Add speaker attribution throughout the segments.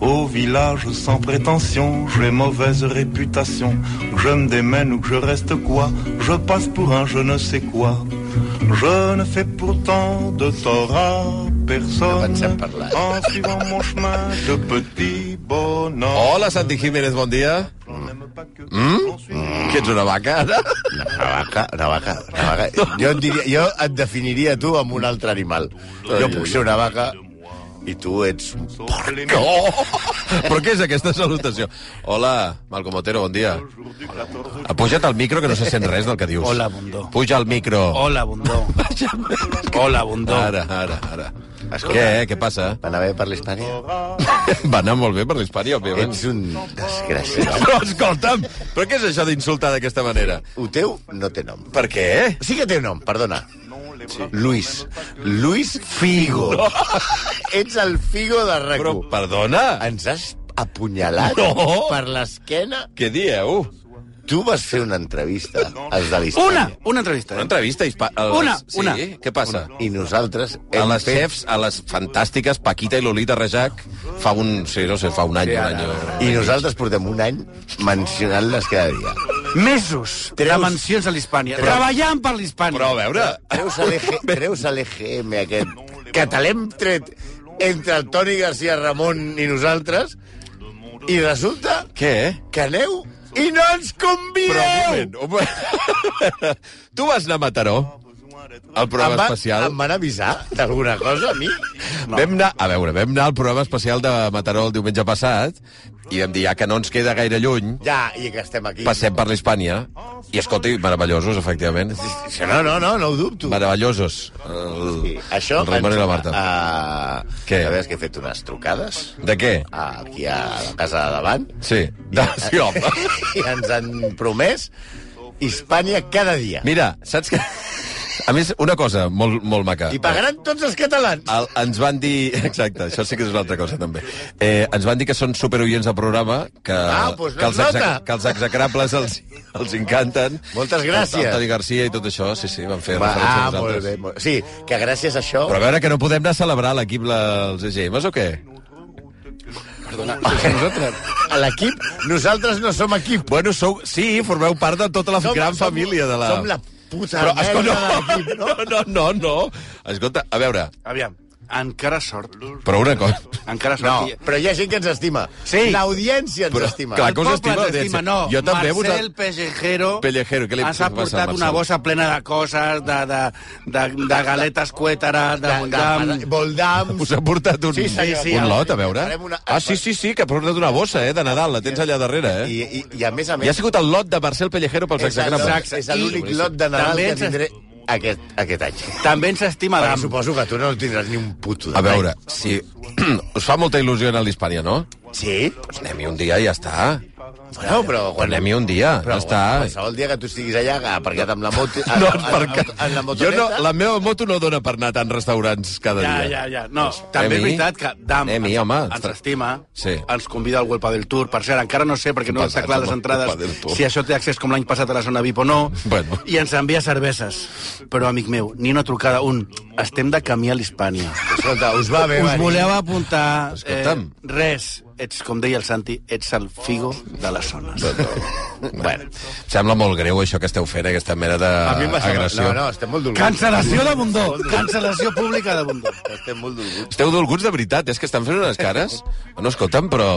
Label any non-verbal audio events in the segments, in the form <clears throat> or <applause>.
Speaker 1: Au village sans prétention, j'ai mauvaise réputation. Que je me démène ou que je reste quoi, je passe pour un je ne sais quoi. Je ne fais pourtant de tort à personne
Speaker 2: ens hem parlat.
Speaker 1: en suivant mon chemin de petit bonhomme.
Speaker 2: Hola, Santi Jiménez, bon dia.
Speaker 1: On n'aime pas que l'on suive
Speaker 2: Que ets una vaca, ara?
Speaker 3: Una vaca, una vaca, una vaca. Jo, et diria, jo et definiria a tu amb un altre animal. Jo puc ser una vaca i tu ets... un p-
Speaker 1: sauf les
Speaker 2: No! Però què és aquesta salutació? Hola, Malcom Otero, bon dia.
Speaker 1: jours du 14 août.
Speaker 2: Puja't al micro, que no se sent res del que dius.
Speaker 4: Hola, Bundó.
Speaker 2: Puja al micro.
Speaker 4: Hola,
Speaker 2: <laughs>
Speaker 4: Bundó. Hola, Bundó.
Speaker 2: Ara, ara, ara.
Speaker 3: Escolta.
Speaker 2: Què, eh? Què passa?
Speaker 3: Va anar bé per l'Hispània?
Speaker 2: <laughs>
Speaker 1: Ah,
Speaker 2: Va anar molt bé per l'Hispània, òbviament.
Speaker 3: Ets un desgraciat.
Speaker 2: <laughs> Però escolta'm, però què és això d'insultar d'aquesta manera?
Speaker 3: El teu no té nom.
Speaker 2: Per què?
Speaker 3: Sí que té nom, perdona. Luis. Luis Figo. <laughs> Ets el Figo de
Speaker 2: Però,
Speaker 3: RAC1.
Speaker 2: perdona,
Speaker 3: Ens has apunyalat
Speaker 2: No.
Speaker 3: per l'esquena.
Speaker 2: què dieu?
Speaker 3: Tu vas fer una entrevista als de l'Hispània.
Speaker 4: Una, una entrevista.
Speaker 2: Una
Speaker 4: Eh?
Speaker 2: entrevista a hispa... a les-
Speaker 4: Una,
Speaker 2: sí?
Speaker 4: una.
Speaker 2: Què passa?
Speaker 3: I nosaltres
Speaker 2: A
Speaker 3: hem
Speaker 2: les
Speaker 3: fet
Speaker 2: chefs, a les fantàstiques Paquita i Lolita Rejac, fa un... Sí, no sé, fa un any, un any... o-
Speaker 3: I nosaltres portem un any mencionant-les cada dia.
Speaker 4: Mesos de
Speaker 3: Treus-
Speaker 4: mencions a l'Hispània. Treballant per l'Hispània.
Speaker 2: Però a veure...
Speaker 3: Treus a l'EG- Treus a l'EGM aquest, que te l'hem tret entre el Toni García Ramon i nosaltres, i resulta
Speaker 2: Què?
Speaker 3: que aneu i no ens
Speaker 2: Però
Speaker 3: convideu!
Speaker 2: un moment, un moment. <laughs> Tu vas anar a Mataró, al programa
Speaker 3: em, va,
Speaker 2: especial...
Speaker 3: em van avisar d'alguna cosa, a mi?
Speaker 2: No. Vam anar, a veure, vam anar al programa especial de Mataró el diumenge passat i vam dir, ja que no ens queda gaire lluny,
Speaker 3: Ja, i que estem aquí.
Speaker 2: passem per l'Hispània. I escolta, i meravellosos, efectivament.
Speaker 3: No, no, no, no ho dubto.
Speaker 2: Meravellosos. El,
Speaker 3: Sí, això...
Speaker 2: el Ramon
Speaker 3: ens-
Speaker 2: i la Marta.
Speaker 3: Ah,
Speaker 2: Què?
Speaker 3: A veure, és que he fet unes trucades
Speaker 2: De què?
Speaker 3: ah, aquí a la casa de davant.
Speaker 2: Sí. De, sí, home.
Speaker 3: <laughs> I ens han promès Hispània cada dia.
Speaker 2: Mira, saps que... A més, una cosa molt, molt maca.
Speaker 3: I pagaran tots els catalans.
Speaker 2: El, ens van dir... Exacte, això sí que és una altra cosa, també. Eh, ens van dir que són superoients del programa, que,
Speaker 3: Ah, doncs no
Speaker 2: que, els,
Speaker 3: es nota.
Speaker 2: que els execrables els, els encanten.
Speaker 3: Moltes gràcies.
Speaker 2: El Toni Garcia i tot això, sí, sí, van fer
Speaker 3: Va,
Speaker 2: referència
Speaker 3: ah,
Speaker 2: a
Speaker 3: molt
Speaker 2: nosaltres.
Speaker 3: bé, molt bé. Sí, que gràcies a això...
Speaker 2: Però a veure que no podem anar a celebrar a l'equip la, els EGMs o què?
Speaker 4: Perdona, sense nosaltres.
Speaker 3: A l'equip, nosaltres no som equip.
Speaker 2: Bueno, sou... Sí, formeu part de tota la
Speaker 3: Som-
Speaker 2: gran
Speaker 3: som-
Speaker 2: família de la...
Speaker 3: som la puta merda
Speaker 2: escolta,
Speaker 3: de l'equip,
Speaker 2: no, <laughs> no, no, no. Escolta, a veure,
Speaker 4: Aviam, encara sort.
Speaker 2: però una cosa...
Speaker 4: Encara
Speaker 3: No,
Speaker 4: sort.
Speaker 3: però hi ha gent que ens estima.
Speaker 4: Sí.
Speaker 3: L'audiència ens
Speaker 2: Però,
Speaker 3: estima.
Speaker 2: clar,
Speaker 4: El
Speaker 2: que us
Speaker 4: poble
Speaker 2: estima, audiència.
Speaker 4: t'estima, no.
Speaker 2: Jo també,
Speaker 4: Marcel
Speaker 2: vosaltres-
Speaker 4: Pellejero,
Speaker 2: Pellejero, què li
Speaker 4: ens
Speaker 2: passa
Speaker 4: ha
Speaker 2: al
Speaker 4: portat
Speaker 2: Marcel?
Speaker 4: una bossa plena de coses, de, de, de, de galetes cuètara, de,
Speaker 3: De-
Speaker 4: de,
Speaker 3: de- Voldam...
Speaker 2: Us ha portat un,
Speaker 3: Sí, senyor.
Speaker 2: un lot, a veure.
Speaker 3: Farem una-
Speaker 2: Ah, sí, sí, sí, que ha portat una bossa, eh, de Nadal. La tens allà darrere, eh?
Speaker 3: I, i, I a més a
Speaker 2: I ha
Speaker 3: més...
Speaker 2: sigut el lot de Marcel Pellejero pels
Speaker 3: és el lot-
Speaker 2: exagrames.
Speaker 3: És l'únic
Speaker 4: I-
Speaker 3: lot de Nadal
Speaker 4: també
Speaker 3: que
Speaker 4: ens-
Speaker 3: tindré aquest, aquest any.
Speaker 4: També ens estima
Speaker 3: Perquè
Speaker 4: d'am.
Speaker 3: suposo que tu no tindràs ni un puto. de
Speaker 2: A veure,
Speaker 3: any.
Speaker 2: si... <clears throat> us fa molta il·lusió anar a l'Hispània, no?
Speaker 3: Sí?
Speaker 2: Doncs anem-hi un dia i ja està.
Speaker 3: Bueno, però...
Speaker 2: Quan anem-hi un dia,
Speaker 3: Però
Speaker 2: ja està.
Speaker 3: qualsevol dia que tu estiguis allà, aparcat amb la moto...
Speaker 2: <laughs> No,
Speaker 3: en,
Speaker 2: perquè...
Speaker 3: en, en la
Speaker 2: jo
Speaker 3: motoneta...
Speaker 2: no, la meva moto no dona per anar a tants restaurants cada
Speaker 4: Ja,
Speaker 2: dia.
Speaker 4: ja, ja. No, també és
Speaker 2: anem-hi.
Speaker 4: veritat que Dam
Speaker 2: Anem-hi,
Speaker 4: ens,
Speaker 2: Doncs, home.
Speaker 4: ens estima,
Speaker 2: Sí.
Speaker 4: ens convida al Huelpa del Tour. Per cert, encara no sé, perquè no
Speaker 2: Basats
Speaker 4: està clar les
Speaker 2: amb el
Speaker 4: entrades,
Speaker 2: Huelpa del Tour.
Speaker 4: si això té accés com l'any passat a la zona VIP o no,
Speaker 2: Bueno.
Speaker 4: i ens envia cerveses. Però, amic meu, ni una trucada, un. Estem de camí a l'Hispània.
Speaker 3: Escolta, us va bé,
Speaker 4: Us
Speaker 3: venir.
Speaker 4: voleu apuntar...
Speaker 2: Escolta'm.
Speaker 4: Eh, res. Ets, com deia el Santi, ets el figo de les zones.
Speaker 2: Bueno, sembla molt greu això que esteu fent, aquesta mena
Speaker 3: A mi em va semblar-
Speaker 2: d'agressió.
Speaker 3: No, no, estem molt dolguts.
Speaker 4: Cancel·lació de Bundó. Cancel·lació pública de Bundó.
Speaker 3: Estem molt dolguts.
Speaker 2: Esteu dolguts de veritat, és que estan fent unes cares. No, escolta'm, però...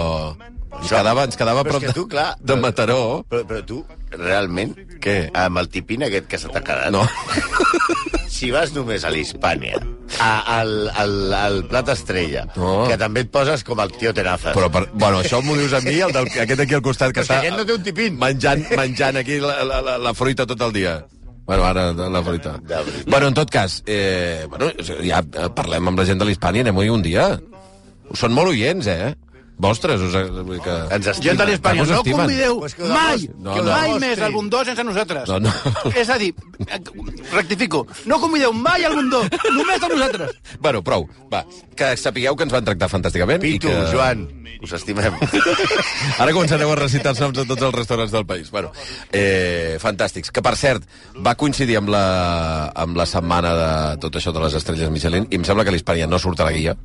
Speaker 2: Ens quedava, ens quedava
Speaker 3: Però és
Speaker 2: prop
Speaker 3: que
Speaker 2: de,
Speaker 3: tu, clar...
Speaker 2: de Mataró.
Speaker 3: Però, però tu, realment,
Speaker 2: Què?
Speaker 3: amb el tipín aquest que se t'ha quedat,
Speaker 2: No.
Speaker 3: si vas només a l'Hispània, a- al, al, al plat estrella,
Speaker 2: No.
Speaker 3: que també et poses com el tio Tenazas.
Speaker 2: Però, per, bueno, això m'ho dius a mi, el del, aquest aquí al costat, que
Speaker 3: Però és que
Speaker 2: està
Speaker 3: aquest no té un tipín.
Speaker 2: menjant, menjant aquí la, la, la, la fruita tot el dia. Bueno, ara la fruita.
Speaker 3: De veritat.
Speaker 2: Bueno, en tot cas, eh, bueno, ja eh, parlem amb la gent de l'Hispània, anem-hi un dia. Són molt oients, eh? Vostres, us, vull dir que...
Speaker 3: Ens estima.
Speaker 4: Gent de l'Espanya,
Speaker 2: Us
Speaker 4: no
Speaker 2: estimen.
Speaker 4: convideu
Speaker 3: Pues que us
Speaker 4: mai,
Speaker 3: demostrin.
Speaker 2: No, no.
Speaker 4: mai
Speaker 3: Demostrin.
Speaker 4: més el Bundó sense nosaltres.
Speaker 2: No, no.
Speaker 4: És a dir, eh, rectifico, no convideu mai el Bundó, només a nosaltres.
Speaker 2: Bueno, prou, va. Que sapigueu que ens van tractar fantàsticament. i
Speaker 3: Pitu,
Speaker 2: que...
Speaker 3: Joan, us estimem.
Speaker 2: Ara començareu a recitar els noms de tots els restaurants del país. Bueno, eh, fantàstics. Que, per cert, va coincidir amb la, amb la setmana de tot això de les estrelles Michelin i em sembla que l'Hispània no surt a la guia,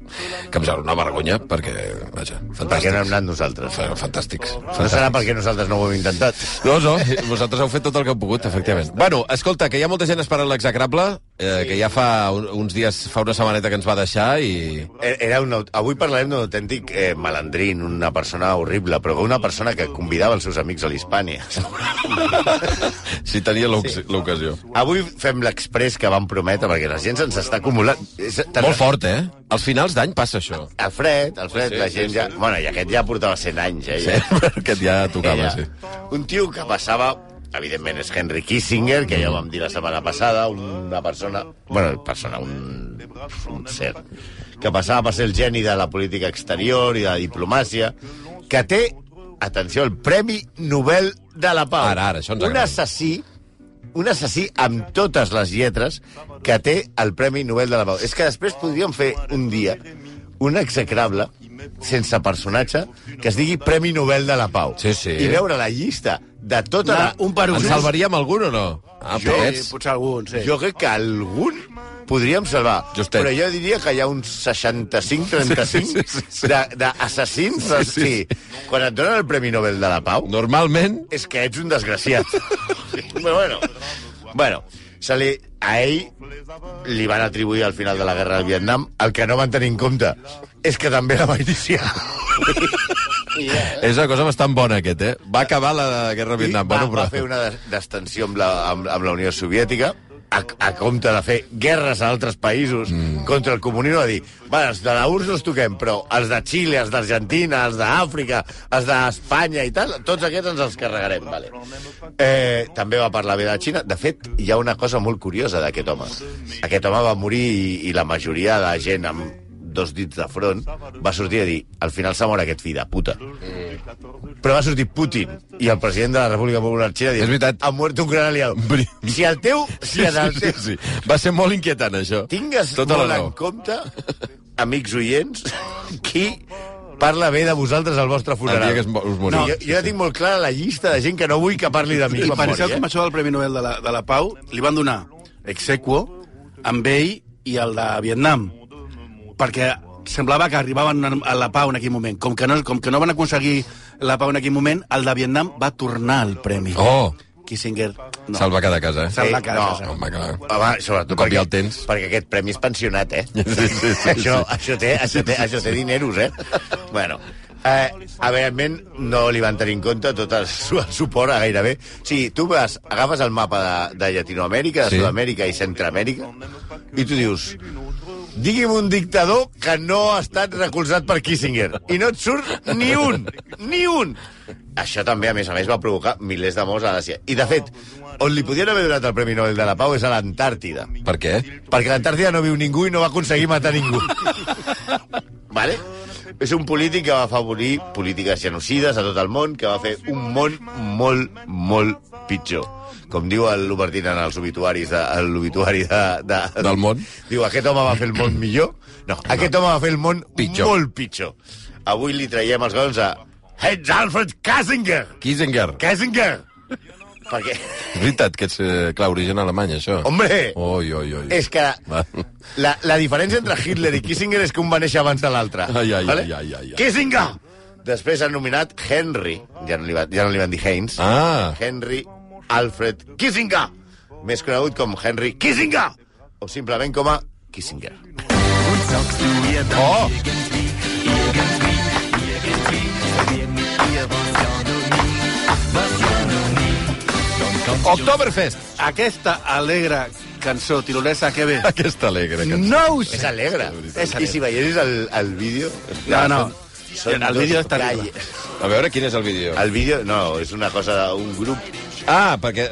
Speaker 2: que em sembla una vergonya, perquè, vaja,
Speaker 3: Perquè no
Speaker 2: Fantàstics.
Speaker 3: hem anat nosaltres.
Speaker 2: Fa- Fantàstics.
Speaker 3: No serà
Speaker 2: Fantàstics.
Speaker 3: perquè nosaltres no ho hem intentat.
Speaker 2: No, no, vosaltres heu fet tot el que heu pogut, efectivament. Bueno, escolta, que hi ha molta gent esperant l'execrable, eh, que ja fa un, uns dies, fa una setmaneta que ens va deixar i...
Speaker 3: Eh, Era un, aut- avui parlarem d'un autèntic eh, malandrín, una persona horrible, però una persona que convidava els seus amics a l'Hispània. <laughs>
Speaker 2: si tenia l'oc- l'ocasió.
Speaker 3: Avui fem l'express que vam prometre, perquè la gent se'ns està acumulant. És-
Speaker 2: Molt fort, eh? Als finals d'any passa això.
Speaker 3: El fred, el fred,
Speaker 2: Sí,
Speaker 3: sí, la
Speaker 2: sí,
Speaker 3: gent
Speaker 2: sí.
Speaker 3: ja... Bueno, i aquest ja portava 100 anys, eh?
Speaker 2: Sí,
Speaker 3: Ja.
Speaker 2: aquest ja tocava, sí.
Speaker 3: Un tio que passava evidentment és Henry Kissinger, que ja ho vam dir la setmana passada, una persona... Bueno, persona, un, un cert, que passava per ser el geni de la política exterior i de la diplomàcia, que té, atenció, el Premi Nobel de la Pau.
Speaker 2: Ara, ara, això ens
Speaker 3: Un
Speaker 2: agrada.
Speaker 3: assassí, un assassí amb totes les lletres que té el Premi Nobel de la Pau. És que després podríem fer un dia un execrable sense personatge que es digui Premi Nobel de la Pau.
Speaker 2: Sí, sí.
Speaker 3: I veure la llista de tota
Speaker 4: Anar
Speaker 3: la...
Speaker 4: un per un.
Speaker 2: En salvaríem algun o no? Ah,
Speaker 4: Jo,
Speaker 2: pets.
Speaker 4: potser algun, sí.
Speaker 3: Jo crec que algun podríem salvar.
Speaker 2: Justet.
Speaker 3: Però jo diria que hi ha uns 65-35
Speaker 2: Sí, sí, sí, sí.
Speaker 3: de- d'assassins. Sí, sí, sí. Quan et donen el Premi Nobel de la Pau, no.
Speaker 2: Normalment...
Speaker 3: és que ets un desgraciat. Però bueno, bueno se li, a ell li van atribuir al final de la guerra del Vietnam el que no van tenir en compte és que també la va iniciar.
Speaker 2: És una cosa bastant bona, aquest, eh? Va acabar la Guerra
Speaker 3: I
Speaker 2: Vietnam.
Speaker 3: va,
Speaker 2: bueno, però...
Speaker 3: va fer una des- destensió amb la, amb, amb la Unió Soviètica a, a compte de fer guerres a altres països mm. contra el comunisme, va dir va, els de la URSS no els toquem, però els de Xile, els d'Argentina, els d'Àfrica, els d'Espanya i tal, tots aquests ens els carregarem. Vale. Eh, també va parlar bé de la Xina. De fet, hi ha una cosa molt curiosa d'aquest home. Aquest home va morir i, i la majoria de gent amb dos dits de front, va sortir a dir al final s'ha mort aquest fill de puta. Però va sortir Putin i el president de la República Popular Xina
Speaker 2: És
Speaker 3: dient
Speaker 2: veritat.
Speaker 3: ha mort un gran aliado.
Speaker 2: Bri-
Speaker 3: Si el teu... Si
Speaker 2: <laughs> Sí,
Speaker 3: el
Speaker 2: sí, sí,
Speaker 3: teu
Speaker 2: sí. Va ser molt inquietant, això.
Speaker 3: Tingues
Speaker 2: Tota la
Speaker 3: molt
Speaker 2: raó.
Speaker 3: en compte, amics oients, qui parla bé de vosaltres al vostre
Speaker 2: El
Speaker 3: funeral.
Speaker 2: dia que es mo- us
Speaker 3: No,
Speaker 2: moriu.
Speaker 3: jo, jo ja tinc molt clara la llista de gent que no vull que parli de mi.
Speaker 4: I
Speaker 3: quan mori,
Speaker 4: penseu
Speaker 3: eh?
Speaker 4: que amb això del Premi Nobel de la, de la Pau li van donar exequo amb ell i el de Vietnam, perquè semblava que arribaven a la pau en aquell moment. Com que no, com que no van aconseguir la pau en aquell moment, el de Vietnam va tornar el premi.
Speaker 2: Oh.
Speaker 4: Kissinger, no.
Speaker 2: Se'l va quedar a casa, eh?
Speaker 4: Se'l va quedar a
Speaker 3: no.
Speaker 4: casa.
Speaker 2: Home, clar.
Speaker 3: Home, sobretot
Speaker 2: Un cop
Speaker 3: perquè,
Speaker 2: ja el tens.
Speaker 3: perquè aquest premi és pensionat, eh? Sí,
Speaker 2: sí, sí, sí.
Speaker 3: això, això, té, això, té, això té dineros, eh? bueno, eh, evidentment no li van tenir en compte tot el, su- el suport a gairebé. O sigui, tu vas, agafes el mapa de, de Llatinoamèrica, de
Speaker 2: Sí.
Speaker 3: sí. Sud-amèrica i Centroamèrica i tu dius digui'm un dictador que no ha estat recolzat per Kissinger. I no et surt ni un, ni un. Això també, a més a més, va provocar milers de morts a l'Àsia. I, de fet, on li podien haver donat el Premi Nobel de la Pau és a l'Antàrtida.
Speaker 2: Per què?
Speaker 3: Perquè a l'Antàrtida no viu ningú i no va aconseguir matar ningú. vale? És un polític que va afavorir polítiques genocides a tot el món, que va fer un món molt, molt pitjor. Com diu el Lubertin en els obituaris de, en l'obituari de, de,
Speaker 2: Del món.
Speaker 3: Diu, aquest home va fer el món millor. No, aquest home va fer el món
Speaker 2: Pitjor.
Speaker 3: molt pitjor. Avui li traiem els gons a... Ets Alfred Kissinger!
Speaker 2: Kissinger.
Speaker 3: Kissinger! Perquè,
Speaker 2: És veritat que ets, eh, clar, origen alemany, això.
Speaker 3: hombre,
Speaker 2: Oi, oi, oi.
Speaker 3: és que
Speaker 2: Va.
Speaker 3: la, la diferència entre Hitler i Kissinger és que un va néixer abans de l'altre.
Speaker 2: Ai, ai, ai, ai, ai, ai.
Speaker 3: Kissinger! Després han nominat Henry, ja no li, va, ja no li van dir Heinz,
Speaker 2: Ah,
Speaker 3: Henry Alfred Kissinger, més conegut com Henry Kissinger, o simplement com a Kissinger.
Speaker 2: oh! Oktoberfest!
Speaker 4: Aquesta alegre cançó tirolesa que ve...
Speaker 2: <laughs> Aquesta alegre que
Speaker 4: No ho sé.
Speaker 3: És alegre.
Speaker 4: És
Speaker 3: I si veiessis el, el vídeo...
Speaker 4: No, no.
Speaker 3: Són
Speaker 4: El
Speaker 3: dos
Speaker 4: vídeo és terrible.
Speaker 3: calles.
Speaker 2: A veure quin és el vídeo.
Speaker 3: El vídeo, no, és una cosa d'un grup...
Speaker 2: Ah, perquè...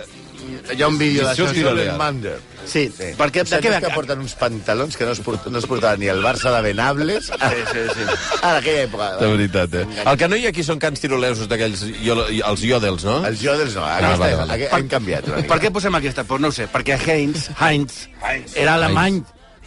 Speaker 4: Hi ha un
Speaker 2: Sí,
Speaker 4: vídeo
Speaker 2: sí,
Speaker 4: d'això.
Speaker 2: sí. Tirolear.
Speaker 3: Mander.
Speaker 4: Sí, sí. perquè de
Speaker 3: Saps
Speaker 4: què
Speaker 3: que,
Speaker 4: ve?
Speaker 3: porten uns pantalons que no es, port, no es portaven ni el Barça de Benables sí, sí, <laughs> sí. en aquella
Speaker 2: De
Speaker 3: època.
Speaker 2: veritat, eh? El que no hi ha aquí són cants tirolesos d'aquells... iolo- Els iòdels, no?
Speaker 3: Els Jodels no, aquesta,
Speaker 2: vale, vale.
Speaker 3: aquest- han canviat. una mica.
Speaker 4: Ah, Per què posem aquesta? Pues no ho sé, perquè Heinz, Heinz, era alemany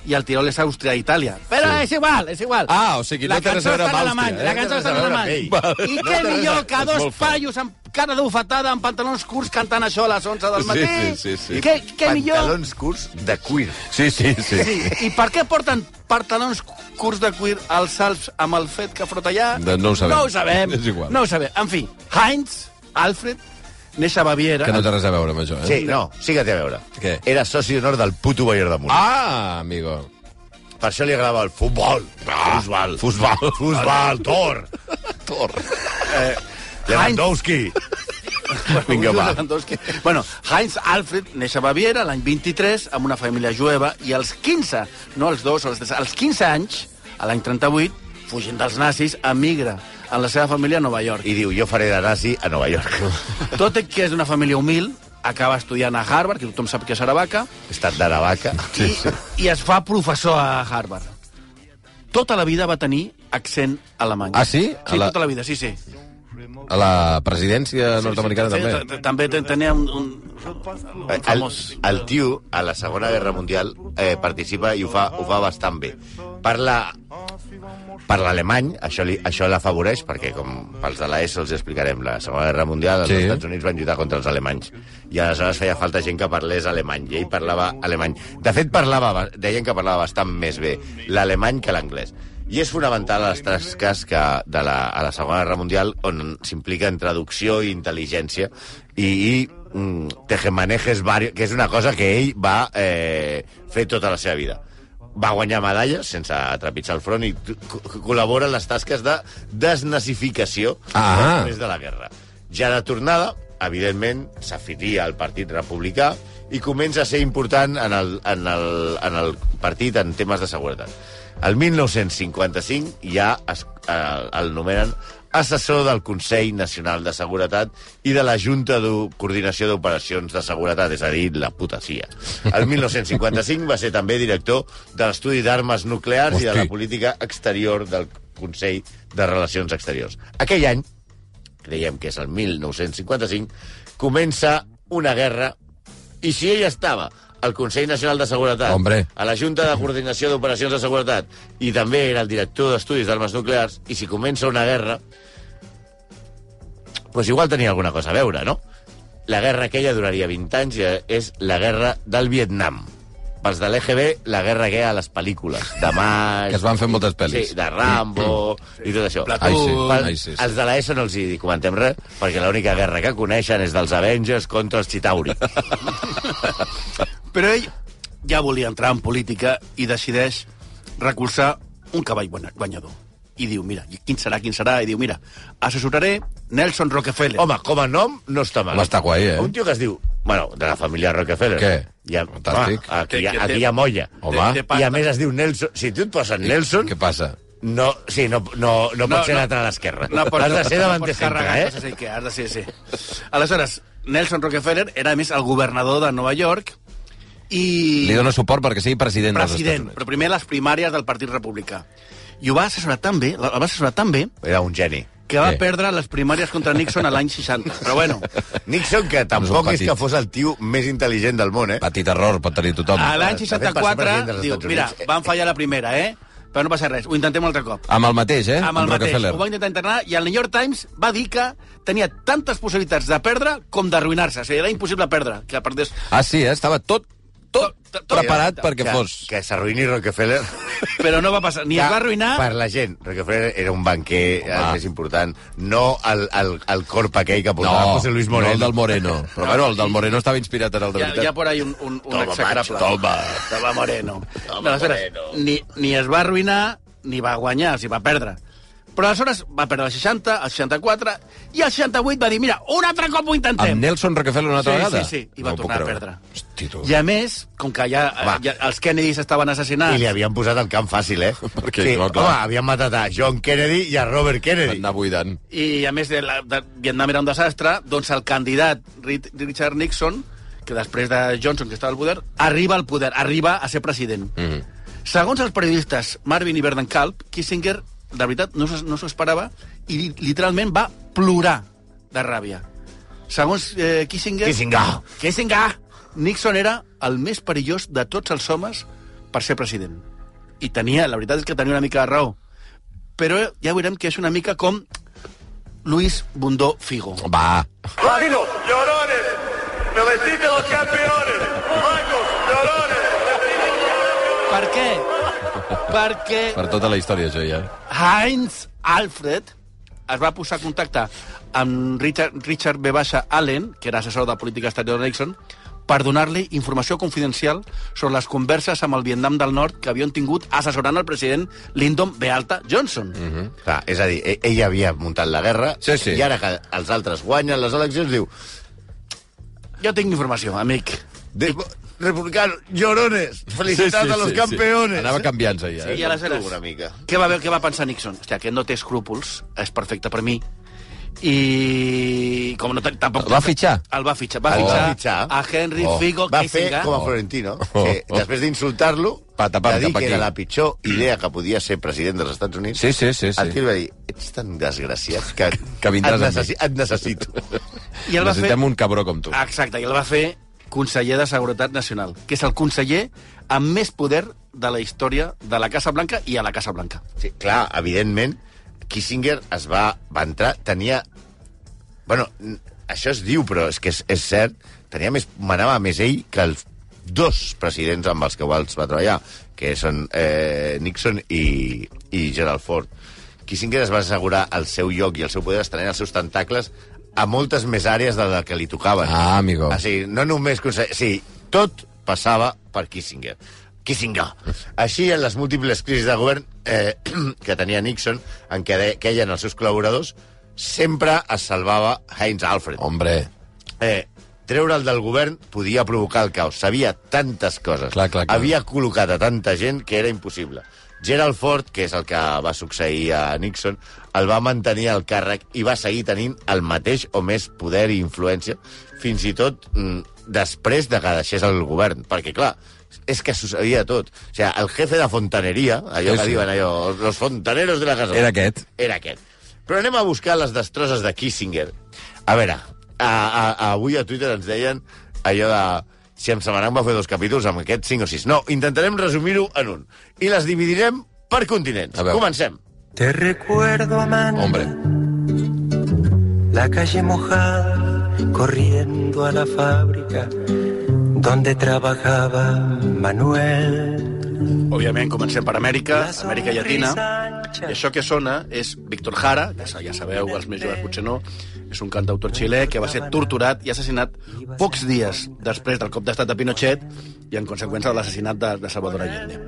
Speaker 4: i el Tirol és Àustria i Itàlia. Però sí. és igual, és igual.
Speaker 2: Ah, o sigui, no té res a veure amb Àustria, eh?
Speaker 4: La cançó està en
Speaker 3: No té res a
Speaker 4: alemany,
Speaker 3: veure
Speaker 4: la
Speaker 3: amb
Speaker 2: <laughs>
Speaker 3: ell.
Speaker 4: cançó està en alemany. I
Speaker 2: No
Speaker 4: què
Speaker 2: té res a
Speaker 4: millor
Speaker 2: veure,
Speaker 4: que
Speaker 2: és
Speaker 4: dos
Speaker 2: molt fort.
Speaker 4: paios amb cara de bufetada, amb pantalons curts, cantant això a les 11 del
Speaker 2: Sí,
Speaker 4: matí.
Speaker 2: sí, sí, sí.
Speaker 4: I Què, què Eh, millor?
Speaker 3: Pantalons curts de cuir.
Speaker 2: Sí, sí, sí.
Speaker 4: Sí. I per què porten pantalons curts de cuir als Alps amb el fet que frota allà?
Speaker 2: De- no ho sabem.
Speaker 4: No ho sabem.
Speaker 2: És igual.
Speaker 4: No ho sabem. En fi, Heinz, Alfred, neix a Baviera.
Speaker 2: Que no té res a veure amb això, eh?
Speaker 3: Sí, no, sí que té a veure.
Speaker 2: Què?
Speaker 3: Era soci d'honor del puto Bayern de Múnich.
Speaker 2: Ah, amigo.
Speaker 3: Per això li agradava el futbol. Ah, futbol. Futbol. Futbol, Tor.
Speaker 2: Tor.
Speaker 3: Lewandowski. Vinga,
Speaker 4: Julio
Speaker 3: va.
Speaker 4: Lewandowski. Bueno, Heinz Alfred neix a Baviera l'any 23 amb una família jueva i als 15, no als 2 o als 3, als 15 anys, a l'any 38, fugint dels nazis, emigra amb la seva família a Nova York.
Speaker 3: I diu, jo faré de nazi a Nova York.
Speaker 4: <laughs> Tot i que és d'una família humil, acaba estudiant a Harvard, que tothom sap que és Aravaca,
Speaker 3: He estat de la vaca.
Speaker 4: sí, sí. i es fa professor a Harvard. Tota la vida va tenir accent alemany.
Speaker 2: Ah, sí? A
Speaker 4: Sí,
Speaker 2: la-
Speaker 4: tota la vida, sí, sí.
Speaker 2: A la presidència nord-americana
Speaker 4: sí,
Speaker 2: també.
Speaker 4: t- t- També ten- tenia un, un, un
Speaker 3: El,
Speaker 4: famós...
Speaker 3: el tio, a la Segona Guerra Mundial, eh, participa i ho fa, ho fa bastant bé. Parla per l'alemany, això, li, això l'afavoreix, perquè com pels de l'ESO els explicarem, la Segona Guerra Mundial els
Speaker 2: Sí.
Speaker 3: sí. Estats Units van lluitar contra els alemanys i aleshores feia falta gent que parlés alemany i ell parlava alemany. De fet, parlava, ba- deien que parlava bastant més bé l'alemany que l'anglès. I és fonamental a les tasques que de la, a la Segona Guerra Mundial on s'implica en traducció i intel·ligència i, i mm, tejemanejes, vario- que és una cosa que ell va eh, fer tota la seva vida va guanyar medalles sense trepitjar el front i co- co- col·labora en les tasques de desnazificació
Speaker 2: Ah.
Speaker 3: després de la guerra. Ja de tornada, evidentment, s'afilia al Partit Republicà i comença a ser important en el, en el, en el partit en temes de seguretat. El 1955 ja es, eh, el nomenen assessor del Consell Nacional de Seguretat i de la Junta de Coordinació d'Operacions de Seguretat, és a dir, la puta CIA. El 1955 va ser també director de l'estudi d'armes nuclears i de la
Speaker 2: Hosti.
Speaker 3: política exterior del Consell de Relacions Exteriors. Aquell any, creiem que és el 1955, comença una guerra i si ell estava al Consell Nacional de Seguretat,
Speaker 2: Hombre.
Speaker 3: a la Junta de Coordinació d'Operacions de Seguretat i també era el director d'Estudis d'Armes Nuclears, i si comença una guerra, pues igual tenia alguna cosa a veure, no? La guerra aquella duraria 20 anys i és la guerra del Vietnam. Pels de l'EGB, la guerra que hi ha a les pel·lícules. De Mas...
Speaker 2: Que es van fer moltes pel·lis.
Speaker 3: Sí, de Rambo i tot això.
Speaker 4: Plató.
Speaker 2: Ai, sí,
Speaker 3: Pel-
Speaker 2: ai, sí, sí.
Speaker 3: Els de l'ESO no els hi comentem res, perquè l'única guerra que coneixen és dels Avengers contra els Chitauri.
Speaker 4: Però ell ja volia entrar en política i decideix recolzar un cavall guanya- guanyador. I diu, mira, i quin serà, quin serà? I diu, mira, assessoraré Nelson Rockefeller.
Speaker 3: Home, com a nom no està mal.
Speaker 2: Home, està guai, eh?
Speaker 3: Un tio que es diu... Bueno, de la família Rockefeller.
Speaker 2: Què?
Speaker 3: Hi ha,
Speaker 2: Fantàstic.
Speaker 3: Ah, aquí, hi ha-
Speaker 4: Que- que té-
Speaker 3: aquí hi ha molla.
Speaker 2: Home.
Speaker 4: Té- té
Speaker 3: I
Speaker 4: pasta.
Speaker 3: a més es diu Nelson... Si tu et poses Nelson,
Speaker 2: Mm, Què passa?
Speaker 3: no, sí, no, no, no,
Speaker 4: No,
Speaker 3: pots ser
Speaker 4: no.
Speaker 3: l'altre a l'esquerra.
Speaker 4: No pots-
Speaker 3: Has de ser davant
Speaker 4: no
Speaker 3: de
Speaker 4: pots
Speaker 3: sempre,
Speaker 4: carregar
Speaker 3: eh?
Speaker 4: coses així, que has de ser, sí. Aleshores, Nelson Rockefeller era, a més, el governador de Nova York i...
Speaker 2: Li dona suport perquè sigui president,
Speaker 4: president,
Speaker 2: dels Estats Units.
Speaker 4: però primer les primàries del Partit Republicà. I ho va assessorar tan bé, el va assessorar tan bé,
Speaker 3: Era un geni.
Speaker 4: que va
Speaker 2: Sí.
Speaker 4: perdre les primàries contra Nixon a l'any 60. Però
Speaker 3: <laughs>
Speaker 4: bueno,
Speaker 3: Nixon, que tampoc és
Speaker 2: petit.
Speaker 3: que fos el tio més intel·ligent del món, eh?
Speaker 2: Petit error pot tenir tothom.
Speaker 4: A l'any
Speaker 3: De fet, va ser president
Speaker 4: 64,
Speaker 3: dels
Speaker 4: diu,
Speaker 3: Estats
Speaker 4: mira,
Speaker 3: Units.
Speaker 4: van fallar la primera, eh? Però no passa res, ho intentem un altre cop.
Speaker 2: Amb el mateix, eh?
Speaker 4: Amb el mateix,
Speaker 2: Rockefeller.
Speaker 4: ho va intentar entrenar, i el New York Times va dir que tenia tantes possibilitats de perdre com d'arruïnar-se. O sigui, era impossible perdre, que perdés...
Speaker 2: Ah, sí, eh? Estava tot, tot,
Speaker 4: Tot- tot-
Speaker 2: preparat
Speaker 4: tot-
Speaker 2: perquè
Speaker 3: que,
Speaker 2: fos.
Speaker 3: que s'arruïni Rockefeller.
Speaker 4: Però no va passar, ni es va arruïnar...
Speaker 3: Per la gent. Rockefeller era un banquer
Speaker 2: Home.
Speaker 3: el més important. No el, el, el corp aquell que portava José Luis
Speaker 2: no
Speaker 3: Moreno.
Speaker 2: el del
Speaker 4: <laughs>
Speaker 2: Moreno. Però bueno, el del Moreno estava inspirat en el de
Speaker 4: Hi ha,
Speaker 2: veritat.
Speaker 4: hi ha por ahí un, un, un
Speaker 3: Toma,
Speaker 4: execrable.
Speaker 3: macho, toma.
Speaker 4: Toma, Moreno.
Speaker 3: Toma,
Speaker 4: Aleshores,
Speaker 3: Moreno.
Speaker 4: Ni, ni es va arruïnar, ni va guanyar, o sigui, va perdre. Però aleshores va perdre el 60, el 64, i el 68 va dir, mira, un altre cop ho intentem.
Speaker 2: Amb Nelson Rockefeller una altra
Speaker 4: Sí,
Speaker 2: vegada?
Speaker 4: sí, sí, i va
Speaker 2: ho puc
Speaker 4: tornar a
Speaker 2: creure.
Speaker 4: perdre.
Speaker 2: Hosti, tu.
Speaker 4: I a més, com que ja,
Speaker 3: Va.
Speaker 4: ja els Kennedys estaven
Speaker 3: I
Speaker 4: assassinats...
Speaker 3: li havien posat el camp fàcil, eh?
Speaker 2: <laughs> Perquè,
Speaker 3: sí,
Speaker 2: no,
Speaker 3: no,
Speaker 2: clar.
Speaker 3: home, havien matat a John Kennedy i a Robert Kennedy.
Speaker 2: Anar buidant.
Speaker 4: i a més de, la, de Vietnam era un desastre, doncs el candidat Ri- Richard Nixon, que després de Johnson, que estava al poder, arriba al poder, arriba a ser president.
Speaker 3: Mhm.
Speaker 4: Mm. Segons els periodistes Marvin i Vernon Kalb, Kissinger, de veritat, no s'ho no s'ho esperava i li- literalment va plorar de ràbia. Segons eh, Kissinger...
Speaker 3: Kissinger.
Speaker 4: Kissinger! Nixon era el més perillós de tots els homes per ser president. I tenia, la veritat és que tenia una mica de raó. Però ja veurem que és una mica com Luis Bundó Figo.
Speaker 2: Va,
Speaker 5: Magos, llorones, me vestiste los campeones. Magos, llorones, me vestiste
Speaker 4: Per què? Perquè
Speaker 2: per tota la història, això, ja.
Speaker 4: Heinz Alfred es va posar en contacte amb Richard, Richard B. Baixa Allen, que era assessor de política exterior de Nixon, per donar-li informació confidencial sobre les converses amb el Vietnam del Nord que havien tingut assessorant el president Lyndon B. Alta Johnson. Mm -hmm.
Speaker 3: Clar, és a dir, e- ell havia muntat la guerra
Speaker 2: Sí, sí.
Speaker 3: i ara que els altres guanyen les eleccions diu
Speaker 4: Jo tinc informació, amic.
Speaker 3: "De- Republicano, llorones, felicitats a los campeones.
Speaker 2: Anava canviant-se, ja.
Speaker 4: eh?
Speaker 2: eh?
Speaker 4: Sí, I
Speaker 2: Sí,
Speaker 4: aleshores,
Speaker 3: Eh, Una mica.
Speaker 4: què va, veure- què va pensar Nixon? Hòstia, aquest no té escrúpols, és perfecte per mi. I com no té- tampoc...
Speaker 2: El va fitxar?
Speaker 4: El va fitxar. Va,
Speaker 3: El
Speaker 4: fitxar,
Speaker 3: va fitxar.
Speaker 4: a Henry
Speaker 2: Oh.
Speaker 4: Figo
Speaker 3: Va fer
Speaker 4: Kissinger.
Speaker 3: com a Florentino,
Speaker 2: Oh,
Speaker 3: que
Speaker 2: oh.
Speaker 3: després d'insultar-lo, va
Speaker 2: Pata, pam,
Speaker 3: dir
Speaker 2: cap
Speaker 3: que
Speaker 2: aquí.
Speaker 3: era la pitjor idea que podia ser president dels Estats Units.
Speaker 2: sí, sí. sí,
Speaker 3: El
Speaker 2: sí.
Speaker 3: tio va dir, ets tan desgraciat que,
Speaker 2: Que vindràs
Speaker 3: et,
Speaker 2: amb mi."
Speaker 3: necessi et necessito.
Speaker 4: I el va fer... Ah.
Speaker 2: Necessitem un cabró com tu.
Speaker 4: Exacte, i el va fer conseller de Seguretat Nacional, que és el conseller amb més poder de la història de la Casa Blanca i a la Casa Blanca.
Speaker 3: Sí, clar, evidentment, Kissinger es va, va entrar, tenia... Bueno, n- això es diu, però és que és, és cert, tenia més, manava més ell que els dos presidents amb els que Walsh va treballar, que són eh, Nixon i, i Gerald Ford. Kissinger es va assegurar el seu lloc i el seu poder estenent els seus tentacles a moltes més àrees de la que li tocaven.
Speaker 2: Ah, amigo.
Speaker 3: O sigui, no només... conse- Sí, tot passava per Kissinger. Kissinger. Així, en les múltiples crisis de govern eh, <clears throat> que tenia Nixon, en què de, queien els seus col·laboradors, sempre es salvava Heinz Alfred.
Speaker 2: Hombre,
Speaker 3: Eh, Treure'l del govern podia provocar el caos. Sabia tantes coses.
Speaker 2: Clar, clar, clar.
Speaker 3: Havia col·locat a tanta gent que era impossible. Gerald Ford, que és el que va succeir a Nixon, el va mantenir al càrrec i va seguir tenint el mateix o més poder i influència, fins i tot mm, després de que deixés el govern. Perquè, clar, és que s'ho sabia tot. O sigui, el jefe de fontaneria, allò
Speaker 2: Sí,
Speaker 3: que
Speaker 2: sí.
Speaker 3: diuen allò, los fontaneros de la casa
Speaker 2: Era aquest.
Speaker 3: era aquest. Però anem a buscar les destrosses de Kissinger. A veure, a, a, a, avui a Twitter ens deien allò de... Si amb Samarang va fer dos capítols, amb aquest cinc o sis. No, intentarem resumir-ho en un. I les dividirem per continents.
Speaker 2: A veure.
Speaker 3: Comencem.
Speaker 6: Te recuerdo, amante,
Speaker 2: hombre.
Speaker 6: la calle mojada, corriendo a la fábrica donde trabajaba Manuel.
Speaker 4: Òbviament, comencem per Amèrica,
Speaker 6: La
Speaker 4: Amèrica Llatina,
Speaker 6: sonrisa
Speaker 4: i això que sona és Víctor Jara, que ja sabeu, els més joves potser no, és un cantautor xilè que va ser torturat i assassinat pocs dies després del cop d'estat de Pinochet i en conseqüència de l'assassinat de, de Salvador Allende.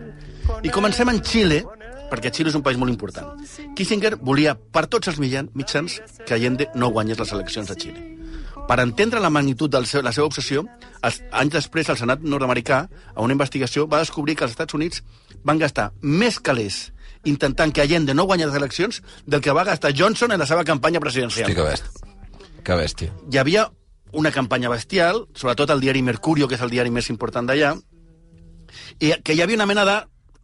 Speaker 4: I comencem en Xile, perquè Xile és un país molt important. Kissinger volia, per tots els mitjan- mitjans, que Allende no guanyés les eleccions de Xile. Per entendre la magnitud de seu, la seva obsessió, els, anys després el Senat nord-americà, a una investigació, va descobrir que els Estats Units van gastar més calés intentant que Allende no guanyés les eleccions del que va gastar Johnson en la seva campanya presidencial
Speaker 2: Hosti, que bèstia. Que bèstia.
Speaker 4: hi havia una campanya bestial, sobretot el diari Mercurio, que és el diari més important d'allà, i que hi havia una mena de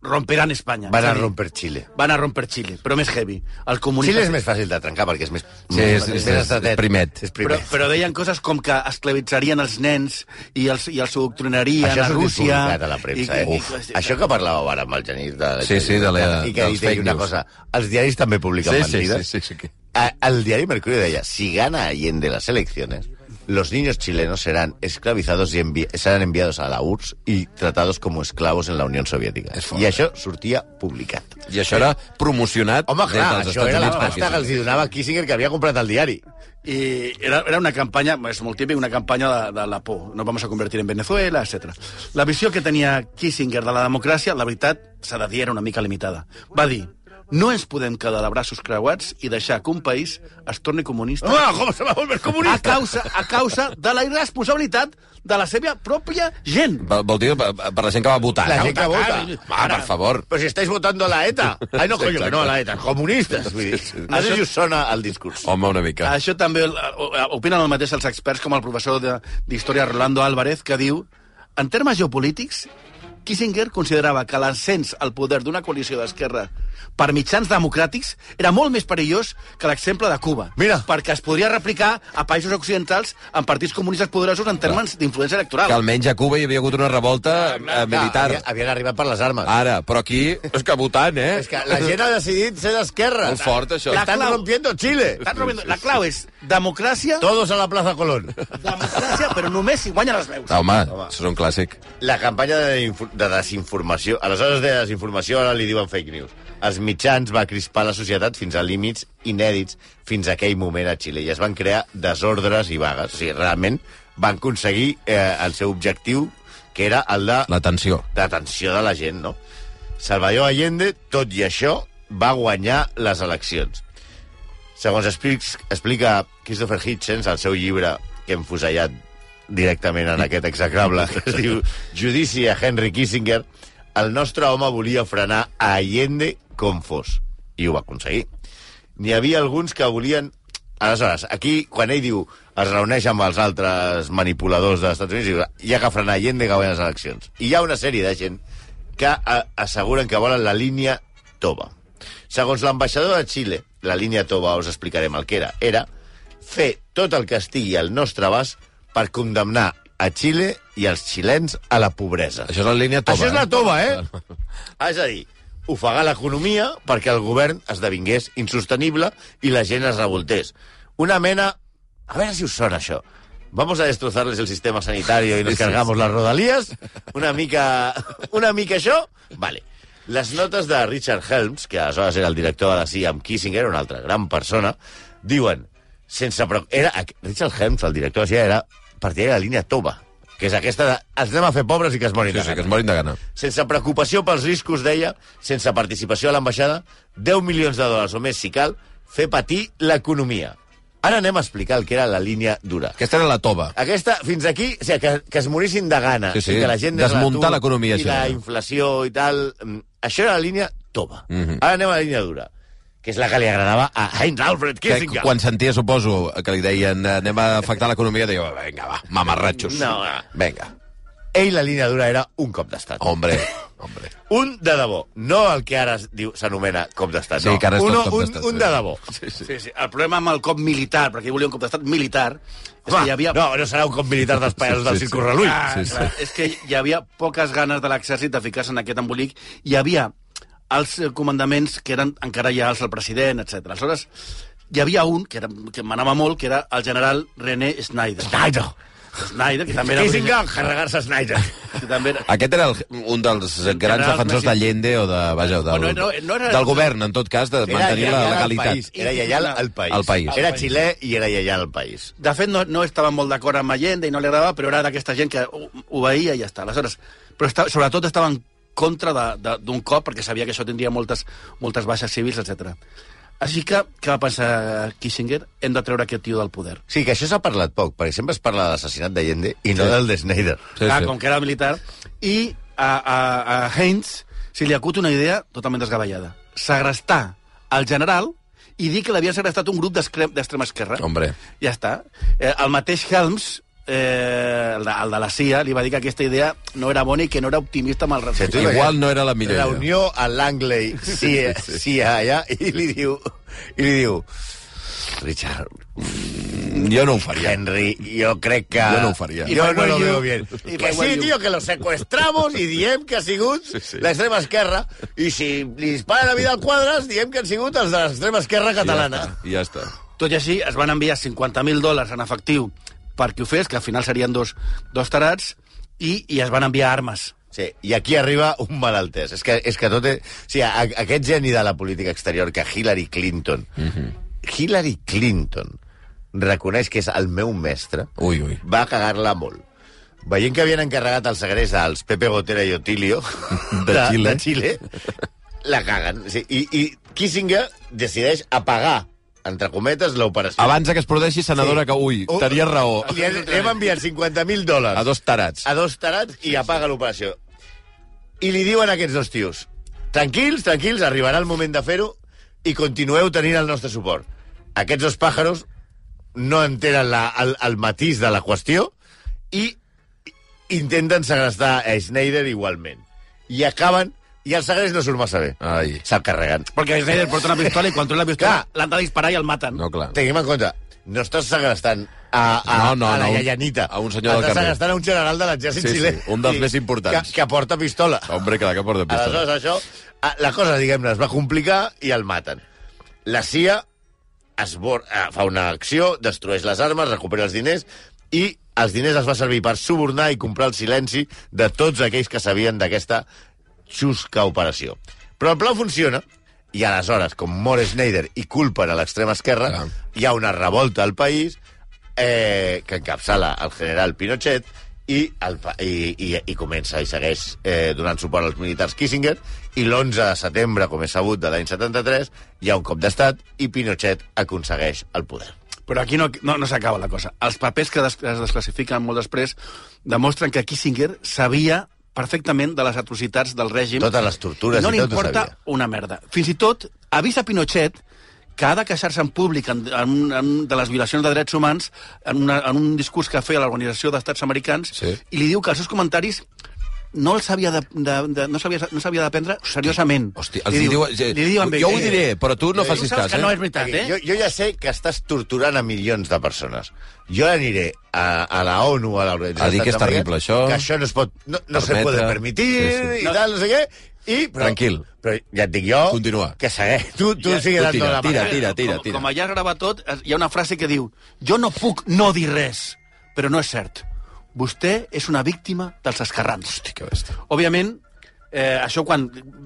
Speaker 4: romperan Espanya.
Speaker 3: Van
Speaker 4: És
Speaker 3: a
Speaker 4: dir,
Speaker 3: romper Xile.
Speaker 4: Van a romper Xile, però més heavy. El comunisme...
Speaker 3: Xile és més fàcil de trencar perquè és més...
Speaker 2: Sí, és-
Speaker 3: més
Speaker 2: és- és
Speaker 3: estretet.
Speaker 2: primet.
Speaker 3: És
Speaker 4: Però,
Speaker 3: primet.
Speaker 4: però deien coses com que esclavitzarien els nens i els, i els adoctrinarien
Speaker 3: Això
Speaker 4: a
Speaker 3: s'ha
Speaker 4: Rússia...
Speaker 3: publicat a la premsa, eh? Uf. Això que parlàveu ara amb el Genís de...
Speaker 2: Sí, sí, de la-
Speaker 3: I que
Speaker 2: dels
Speaker 3: ha dit
Speaker 2: fake
Speaker 3: una
Speaker 2: news.
Speaker 3: cosa. Els diaris també publiquen
Speaker 2: Sí, sí,
Speaker 3: mentides.
Speaker 2: sí, sí, sí que-
Speaker 3: A- El diari Mercurio deia, si gana Allende las elecciones, los niños chilenos serán esclavizados y envi serán enviados a la URSS y tratados como esclavos en la Unión Soviética.
Speaker 2: És fort.
Speaker 3: I això sortia publicat.
Speaker 2: I això era promocionat
Speaker 3: Home, clar,
Speaker 2: des dels
Speaker 3: això
Speaker 2: Estats
Speaker 3: era la
Speaker 2: Units.
Speaker 3: pasta que els hi donava Kissinger que havia comprat el diari.
Speaker 4: I era, era una campanya, és molt típic, una campanya de, de la por. Nos vamos a convertir en Venezuela, etc. La visió que tenia Kissinger de la democràcia, la veritat, s'ha de dir, era una mica limitada. Va dir, no ens podem quedar de braços creuats i deixar que un país es torni comunista
Speaker 3: Ah, Home, com se va volver
Speaker 4: a
Speaker 3: comunista?
Speaker 4: causa, a causa de la irresponsabilitat de la seva pròpia gent.
Speaker 2: Vol, vol dir per, per la gent que va votar.
Speaker 3: La
Speaker 2: no?
Speaker 3: gent que vota.
Speaker 2: Va, per favor.
Speaker 3: Però si estáis votando a la ETA. Ai, no,
Speaker 2: Sí,
Speaker 3: coño, que no a la
Speaker 2: exacte.
Speaker 3: ETA. Comunistes, vull dir. No sé si us sona el discurs.
Speaker 2: Home, una mica.
Speaker 4: Això també el- o- opinen el mateix els experts com el professor de- d'Història Rolando Álvarez, que diu en termes geopolítics, Kissinger considerava que l'ascens al poder d'una coalició d'esquerra per mitjans democràtics era molt més perillós que l'exemple de Cuba.
Speaker 3: Mira.
Speaker 4: Perquè es podria replicar a països occidentals amb partits comunistes poderosos en termes d'influència electoral.
Speaker 2: Que almenys a Cuba hi havia hagut una revolta eh, militar.
Speaker 3: Havien, Ah, havien arribat per les armes.
Speaker 2: Ara, però aquí... És que votant, eh?
Speaker 3: És que la gent ha decidit ser d'esquerra.
Speaker 2: Molt fort, això.
Speaker 3: Estan
Speaker 4: La clau-
Speaker 3: rompiendo Chile.
Speaker 4: Estàs robant- La clau és democràcia,
Speaker 3: Todos a la plaza Colón.
Speaker 4: democràcia, però només si guanyen les veus.
Speaker 2: Ah, home, home, això és un clàssic.
Speaker 3: La campanya de, infor- de desinformació... Aleshores de desinformació, ara li diuen fake news. Els mitjans va crispar la societat fins a límits inèdits fins a aquell moment a Xile i es van crear desordres i vagues. O sigui, realment van aconseguir eh, el seu objectiu, que era el de
Speaker 2: La tensió.
Speaker 3: d'atenció de la gent, no? Salvador Allende, tot i això, va guanyar les eleccions. Segons explics, explica Christopher Hitchens al seu llibre que hem fusellat directament en aquest execrable, que es diu Judici a Henry Kissinger, el nostre home volia frenar a Allende com fos, i ho va aconseguir. N'hi havia alguns que volien... Aleshores, aquí, quan ell diu es reuneix amb els altres manipuladors dels Estats Units, diu, hi ha que frenar Allende que guanya les eleccions. I hi ha una sèrie de gent que eh, asseguren que volen la línia tova. Segons l'ambaixador de Xile, la línia tova, us explicarem el que era, era fer tot el que estigui al nostre abast per condemnar a Xile i els xilens a la pobresa.
Speaker 2: Això és la línia tova.
Speaker 3: Això és la
Speaker 2: eh?
Speaker 3: tova, eh? és a dir, ofegar l'economia perquè el govern esdevingués insostenible i la gent es revoltés. Una mena... A veure si us sona això. Vamos a destrozarles el sistema sanitario y nos cargamos las rodalies. Una mica... Una mica això? Vale. Les notes de Richard Helms, que aleshores era el director de la CIA amb Kissinger, una altra gran persona, diuen... Sense prou... Era... Richard Helms, el director de la CIA, era partidari de la línia tova, que és aquesta de... Els anem a fer pobres i que es morin
Speaker 2: Sí,
Speaker 3: de
Speaker 2: sí,
Speaker 3: gana
Speaker 2: que es morin de gana.
Speaker 3: sense preocupació pels riscos, deia, sense participació a l'ambaixada, 10 milions de dòlars o més, si cal, fer patir l'economia. Ara anem a explicar el que era la línia dura.
Speaker 2: Aquesta era la tova.
Speaker 3: Aquesta, fins aquí, o sigui, que, que es morissin de gana.
Speaker 2: Sí, sí.
Speaker 3: i Que la gent anés a
Speaker 2: Desmuntar
Speaker 3: l'atur
Speaker 2: l'economia
Speaker 3: I
Speaker 2: xilena.
Speaker 3: la inflació i tal. Mm, Això era la línia tova.
Speaker 2: Mhm.
Speaker 3: Ara anem a la línia dura, que és la que li agradava a Heinz Alfred
Speaker 2: Que,
Speaker 3: Kissinger.
Speaker 2: quan sentia, suposo, que li deien eh, anem a afectar l'economia, deia, vinga, va, mamarratxos.
Speaker 3: No, va.
Speaker 2: Vinga,
Speaker 3: Ell la línia dura era un cop d'estat.
Speaker 2: hombre,
Speaker 3: <laughs>
Speaker 2: hombre.
Speaker 3: Un de debò, no el que ara es diu s'anomena cop d'estat.
Speaker 2: Sí,
Speaker 3: no.
Speaker 2: que ara és tot
Speaker 3: Uno-
Speaker 2: cop
Speaker 3: un,
Speaker 2: d'estat,
Speaker 3: un
Speaker 2: sí.
Speaker 3: de debò.
Speaker 4: Sí, sí. El problema amb el cop militar, perquè ell volia un cop d'estat militar, és que
Speaker 3: Home,
Speaker 4: hi havia...
Speaker 3: No, no serà un cop militar dels països del
Speaker 2: Sí, sí,
Speaker 3: Circo
Speaker 2: sí.
Speaker 3: Relull.
Speaker 4: Ah,
Speaker 2: Sí, sí.
Speaker 4: clar, És que hi havia poques ganes de l'exèrcit de ficar-se en aquest embolic. Hi havia els eh, comandaments que eren encara ja els del president, etc. Aleshores, hi havia un que, era, que manava molt, que era el general René Schneider.
Speaker 3: Snyder.
Speaker 4: Schneider, que també era...
Speaker 3: Kissinger, carregar-se Snyder.
Speaker 4: Que també era...
Speaker 2: Aquest era el, un dels grans
Speaker 4: general
Speaker 2: defensors
Speaker 4: Messi.
Speaker 2: d'Allende o de, vaja, del,
Speaker 4: Bueno, no, no era-
Speaker 2: del govern, en tot cas, de mantenir la
Speaker 3: lleial al
Speaker 2: legalitat.
Speaker 3: país. Era lleial al país.
Speaker 2: Al país.
Speaker 3: Era xilè i era lleial al país.
Speaker 4: De fet, no, no estava molt d'acord amb Allende i no li agradava, però era d'aquesta gent que ho, ho veia i ja està. Aleshores, però està, sobretot estava en contra de- de- d'un cop perquè sabia que això tindria moltes, moltes baixes civils, etc. Així que, què va pensar Kissinger? Hem de treure aquest tio del poder.
Speaker 3: Sí, que això s'ha parlat poc, perquè sempre es parla de l'assassinat d'Allende i no
Speaker 2: Sí.
Speaker 3: del de Snyder.
Speaker 2: Sí,
Speaker 4: Clar,
Speaker 2: sí.
Speaker 4: com que era militar. I a, a, a Heinz se li acut una idea totalment desgavellada. Segrestar el general i dir que l'havia segrestat un grup d'extre- d'extrema esquerra.
Speaker 2: Hombre.
Speaker 4: Ja està. Eh, el mateix Helms, eh, el, de, el de la CIA, li va dir que aquesta idea no era bona i que no era optimista amb el
Speaker 3: Sí,
Speaker 4: respecte.
Speaker 3: tu-
Speaker 2: Igual no era la millor idea.
Speaker 3: Reunió a Langley, sí, sí, sí, allà, i li diu... I li diu... Richard,
Speaker 2: Jo no ho faria.
Speaker 3: Henry, jo crec que...
Speaker 2: Jo no ho faria.
Speaker 3: Jo no lo
Speaker 4: you-
Speaker 3: veo bien.
Speaker 4: if
Speaker 3: Que
Speaker 4: I were
Speaker 3: sí,
Speaker 4: you.
Speaker 3: tio, que lo secuestramos i diem que ha sigut sí,
Speaker 2: sí.
Speaker 3: sí. l'extrema esquerra. I si li disparen a Vidal Quadras, diem que han sigut els de l'extrema esquerra catalana.
Speaker 2: I ja està. I ja està.
Speaker 4: Tot i així, es van enviar 50.000 dòlars en efectiu perquè ho fes, que al final serien dos, dos tarats, i, i es van enviar armes.
Speaker 3: Sí, i aquí arriba un malaltès. És que, és que tot... És... O sigui, a, aquest geni de la política exterior que Hillary Clinton... Mm
Speaker 2: Mhm.
Speaker 3: -hmm. Hillary Clinton reconeix que és el meu mestre.
Speaker 2: Ui, ui.
Speaker 3: Va cagar-la molt. Veient que havien encarregat el segrest als Pepe Gotera i Otilio
Speaker 2: De Xile.
Speaker 3: de Xile la caguen. Sí, I, I Kissinger decideix apagar, entre cometes, l'operació.
Speaker 2: Abans de que es produeixi, senadora, sí. que ui,
Speaker 3: Oh.
Speaker 2: tenies raó.
Speaker 3: Li, hem- li hem enviat 50.000 dòlars.
Speaker 2: A dos tarats.
Speaker 3: a dos tarats i apaga l'operació. I li diuen a aquests dos tios, tranquils, tranquils, arribarà el moment de fer-ho i continueu tenint el nostre suport. Aquests dos pàjaros no entenen la, el, el matís de la qüestió i intenten segrestar a Schneider igualment. i acaben... I el segrest no surt massa bé.
Speaker 2: Ai.
Speaker 3: Se'l carreguen.
Speaker 4: Perquè Snyder porta una pistola i quan treu la pistola
Speaker 3: Clar.
Speaker 4: l'han de disparar i el maten.
Speaker 2: No, Oh, clar.
Speaker 3: Tinguem en compte, no estàs segrestant a, a,
Speaker 2: No, no,
Speaker 3: a la
Speaker 2: no, un-
Speaker 3: Yellanita.
Speaker 2: a un senyor del
Speaker 3: estàs
Speaker 2: carrer.
Speaker 3: segrestant a un general de l'exèrcit
Speaker 2: Sí, sí,
Speaker 3: xilè.
Speaker 2: un dels
Speaker 3: i-
Speaker 2: més importants.
Speaker 3: Que, que porta pistola.
Speaker 2: Hombre, clar que porta pistola.
Speaker 3: Aleshores, això, a- la cosa, diguem-ne, es va complicar i el maten. La CIA es bor... eh, fa una acció, destrueix les armes, recupera els diners i els diners es va servir per subornar i comprar el silenci de tots aquells que sabien d'aquesta xusca operació. Però el pla funciona i aleshores, com mor Schneider i culpen a l'extrema esquerra,
Speaker 2: Clar.
Speaker 3: hi ha una revolta al país eh, que encapçala el general Pinochet i, el, pa- i, i, i comença i segueix eh, donant suport als militars Kissinger i l'11 de setembre, com és sabut, de l'any 73 hi ha un cop d'estat i Pinochet aconsegueix el poder.
Speaker 4: Però aquí no, no, no s'acaba la cosa. Els papers que des, es desclassifiquen molt després demostren que Kissinger sabia perfectament de les atrocitats del règim.
Speaker 3: Totes les tortures
Speaker 4: no
Speaker 3: i
Speaker 4: li
Speaker 3: tot ho
Speaker 4: importa
Speaker 3: sabia.
Speaker 4: una merda. Fins i tot avisa Pinochet que ha de queixar-se en públic en, en, un- en, de les violacions de drets humans en, una, en un discurs que feia a l'Organització d'Estats Americans
Speaker 2: Sí.
Speaker 4: i li diu que els seus comentaris no els havia de, de, de, no s'havia no s'havia de prendre seriosament.
Speaker 2: Hosti, els li diu,
Speaker 4: li diu amb ell,
Speaker 2: jo ho
Speaker 4: eh,
Speaker 2: diré, però tu no
Speaker 4: tu
Speaker 2: facis
Speaker 4: saps
Speaker 2: cas,
Speaker 4: que
Speaker 2: eh?
Speaker 4: no és veritat, eh?
Speaker 3: Jo, jo ja sé que estàs torturant a milions de persones. Jo aniré a, a la ONU, a l'Organització
Speaker 2: A dir que és
Speaker 3: d'Estats
Speaker 2: terrible,
Speaker 3: Units,
Speaker 2: això.
Speaker 3: Que això no es pot... No, no se
Speaker 2: Permetre.
Speaker 3: puede permitir
Speaker 2: Sí,
Speaker 3: sí, sí. i tal, no sé què. I, però,
Speaker 2: Tranquil.
Speaker 3: Però ja et dic jo...
Speaker 2: Continua.
Speaker 3: Que segueix. Tu, tu
Speaker 4: Ja,
Speaker 3: ja, sigues
Speaker 2: tu
Speaker 3: dando
Speaker 2: tira,
Speaker 3: la mà.
Speaker 2: tira, tira.
Speaker 4: com, Com allà es grava tot, es- hi ha una frase que diu jo no puc no dir res, però no és cert. Vostè és una víctima dels escarrans. Hosti,
Speaker 2: que bèstia.
Speaker 4: Òbviament, eh, això quan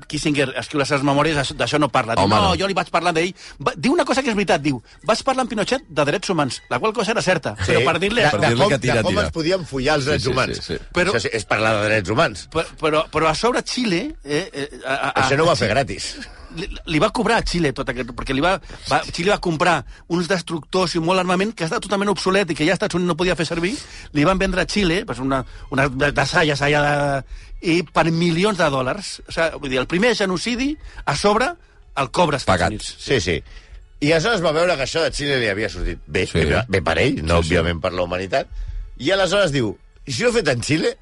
Speaker 4: Kissinger escriu les seves memòries, això- d'això no parla. Diu,
Speaker 2: Home, no.
Speaker 4: no, jo li vaig parlar d'ell. Va, diu una cosa que és veritat, diu, vas parlar amb Pinochet de drets humans, la qual cosa era certa, sí. però per dir-li...
Speaker 3: de,
Speaker 2: Per
Speaker 3: de,
Speaker 2: dir-li
Speaker 3: com,
Speaker 2: que tira,
Speaker 3: de com
Speaker 2: tira.
Speaker 3: es podien follar els
Speaker 2: Sí,
Speaker 3: drets
Speaker 2: sí, sí,
Speaker 3: humans.
Speaker 2: sí.
Speaker 4: Però-
Speaker 3: Això sí, és parlar de drets humans.
Speaker 4: Però, però, però a sobre Xile... Eh, eh, a, a, a,
Speaker 3: Això no ho va fer gratis.
Speaker 4: li, li va cobrar a Xile tot aquest... Perquè li va, va, Xile va comprar uns destructors i un molt armament que està totalment obsolet i que ja als Estats Units no podia fer servir. Li van vendre a Xile pues, una, una desalla, allà de, i per milions de dòlars. O sigui, vull dir, el primer genocidi a sobre el cobra als Estats
Speaker 2: Pagat.
Speaker 4: Units.
Speaker 3: Sí, sí. I aleshores va veure que això de Xile li havia sortit bé,
Speaker 2: Sí.
Speaker 3: sí. bé, bé per ell, no sí, òbviament per la humanitat. I aleshores diu, si ho he fet en Xile,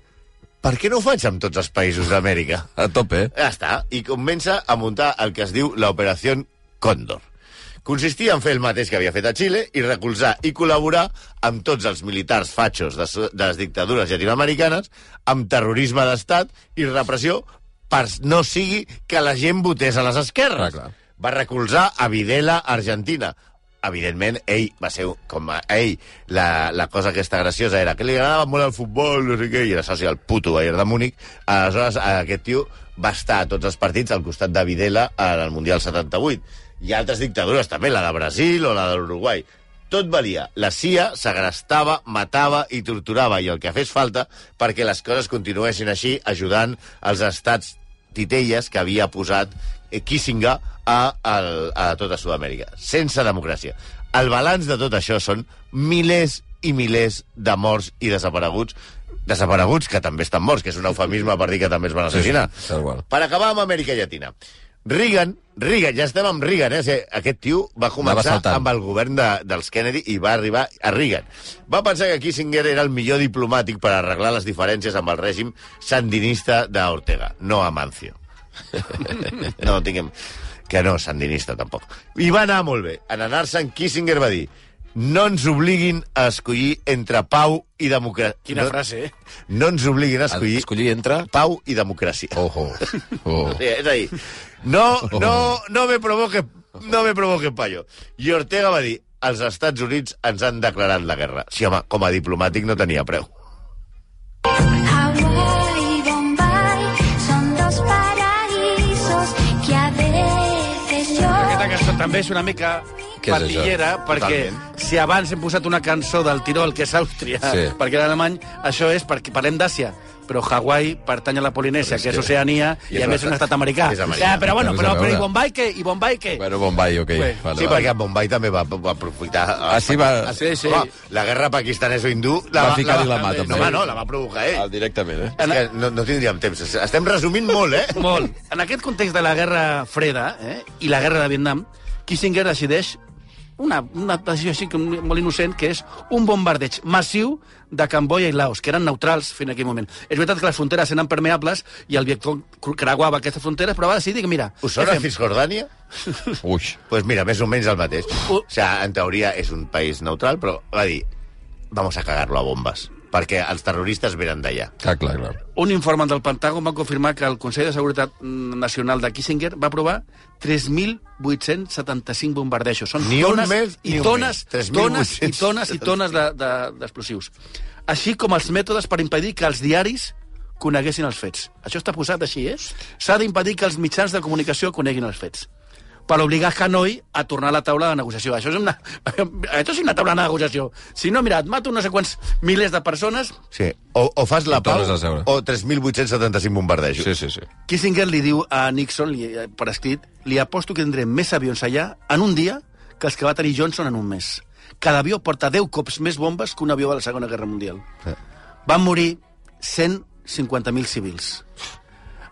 Speaker 3: per què no ho faig amb tots els països d'Amèrica?
Speaker 2: A tope, eh?
Speaker 3: Ja està. I comença a muntar el que es diu l'operació Còndor. Consistia en fer el mateix que havia fet a Xile i recolzar i col·laborar amb tots els militars fatxos de, so- de les dictadures llatinoamericanes, amb terrorisme d'estat i repressió per no sigui que la gent votés a les
Speaker 2: Ah,
Speaker 3: esquerres.
Speaker 2: clar.
Speaker 3: va recolzar a Videla, Argentina. Evidentment, ell va ser un- com a ell. La, la cosa aquesta graciosa era que li agradava molt el futbol, no sé què, i era soci del puto Bayern de Múnich. Aleshores, aquest tio va estar a tots els partits al costat de Videla en el Mundial 78. I altres dictadures també, la de Brasil o la de l'Uruguai. Tot valia. La CIA segrestava, matava i torturava, i el que fes falta perquè les coses continuessin així, ajudant els estats titelles que havia posat eh, Kissinger a, al- a tota Sud-amèrica, sense democràcia. El balanç de tot això són milers i milers de morts i desapareguts, desapareguts que també estan morts, que és un eufemisme per dir que també es van assassinar.
Speaker 2: Sí, sí, tal qual.
Speaker 3: Per acabar amb Amèrica Llatina. Reagan, Reagan, ja estem amb Reagan, eh? O sigui, Aquest tio va començar
Speaker 2: saltant.
Speaker 3: amb el govern de, dels Kennedy i va arribar a Reagan. Va pensar que Kissinger era el millor diplomàtic per arreglar les diferències amb el règim sandinista d'Ortega, no Amancio. <laughs> no, tinguem... Que no, sandinista, tampoc. I va anar molt bé. En anar-se'n, Kissinger va dir no ens obliguin a escollir entre pau i democràcia.
Speaker 4: Quina
Speaker 3: no,
Speaker 4: frase, eh?
Speaker 3: No ens obliguin a escollir
Speaker 2: Escollir entre...
Speaker 3: pau i democràcia. <laughs>
Speaker 2: Ojo. Oh.
Speaker 3: O sea, es ahí. No, no, no me provoque, no me provoque paio. I Ortega va dir, els Estats Units ens han declarat la guerra. Sí, home, com a diplomàtic no tenia preu.
Speaker 7: Hawái y Bombay son dos paraísos que a veces yo...
Speaker 4: Aquesta cançó també és una mica
Speaker 2: Què és
Speaker 4: patillera,
Speaker 2: això?
Speaker 4: perquè
Speaker 2: Totalment.
Speaker 4: si abans hem posat una cançó del Tirol, que és Àustria,
Speaker 2: Sí.
Speaker 4: perquè era alemany, això és perquè parlem d'Àsia, però Hawaii pertany a la Polinèsia,
Speaker 2: Però és
Speaker 4: que és
Speaker 2: que-
Speaker 4: Oceania,
Speaker 2: I
Speaker 4: i,
Speaker 2: és
Speaker 4: a més és un estat americà.
Speaker 3: és americà.
Speaker 4: Ja, però bueno,
Speaker 2: Res a
Speaker 4: però, però i
Speaker 2: veure.
Speaker 4: Bombay què? I Bombay què?
Speaker 2: Bueno, Bombay, ok.
Speaker 4: Bé,
Speaker 2: Vale,
Speaker 3: sí,
Speaker 2: vale.
Speaker 3: perquè a Bombay també va, va aprofitar...
Speaker 2: Ah, sí, va-
Speaker 4: Sí, sí.
Speaker 3: Home, la guerra pakistanesa o hindú...
Speaker 2: Va ficar-hi la mà,
Speaker 3: no,
Speaker 2: també.
Speaker 3: Home, no, la va provocar
Speaker 2: Ah,
Speaker 3: ell.
Speaker 2: directament, eh?
Speaker 3: És que no, no tindríem temps. Estem resumint molt,
Speaker 2: <laughs>
Speaker 3: eh?
Speaker 4: <laughs> Molt. En aquest context de la Guerra Freda eh, i la Guerra de Vietnam, Kissinger decideix una, una decisió així com molt innocent, que és un bombardeig massiu de Camboya i Laos, que eren neutrals fins a aquell moment. És veritat que les fronteres eren permeables i el Vietcong cru- creuava aquestes fronteres, però va decidir que, mira...
Speaker 3: Us sona
Speaker 4: què fem?
Speaker 3: Cisjordània?
Speaker 2: Ui.
Speaker 3: Pues mira, més o menys el mateix. O
Speaker 4: Uh.
Speaker 3: sea, en teoria és un país neutral, però va dir vamos a cagar-lo a bombes, perquè els terroristes venen d'allà.
Speaker 2: Clar, Ah, clar, clar.
Speaker 4: Un informe del Pentàgon va confirmar que el Consell de Seguretat mm, Nacional de Kissinger va aprovar 3.875 bombardejos. Són
Speaker 3: Ni un
Speaker 4: tones,
Speaker 3: més, ni
Speaker 4: i
Speaker 3: un
Speaker 4: tones,
Speaker 3: menys.
Speaker 4: tones, i
Speaker 3: 3.875.
Speaker 4: tones i tones de- de- d'explosius. De, així com els mètodes per impedir que els diaris coneguessin els fets. Això està posat així, eh? S'ha d'impedir que els mitjans de comunicació coneguin els fets per obligar Hanoi a tornar a la taula de negociació. Això és una, <laughs> això és una taula de negociació. Si no, mira, et mato no sé quants milers de persones
Speaker 3: Sí. O, o fas la
Speaker 2: I
Speaker 3: pau
Speaker 2: tornes a seure.
Speaker 3: o 3.875 bombardejos.
Speaker 2: Sí, sí, sí.
Speaker 4: Kissinger li diu a Nixon, li, eh, per escrit, li aposto que tindrem més avions allà en un dia que els que va tenir Johnson en un mes. Cada avió porta 10 cops més bombes que un avió de la Segona Guerra Mundial. Van morir 150.000 civils.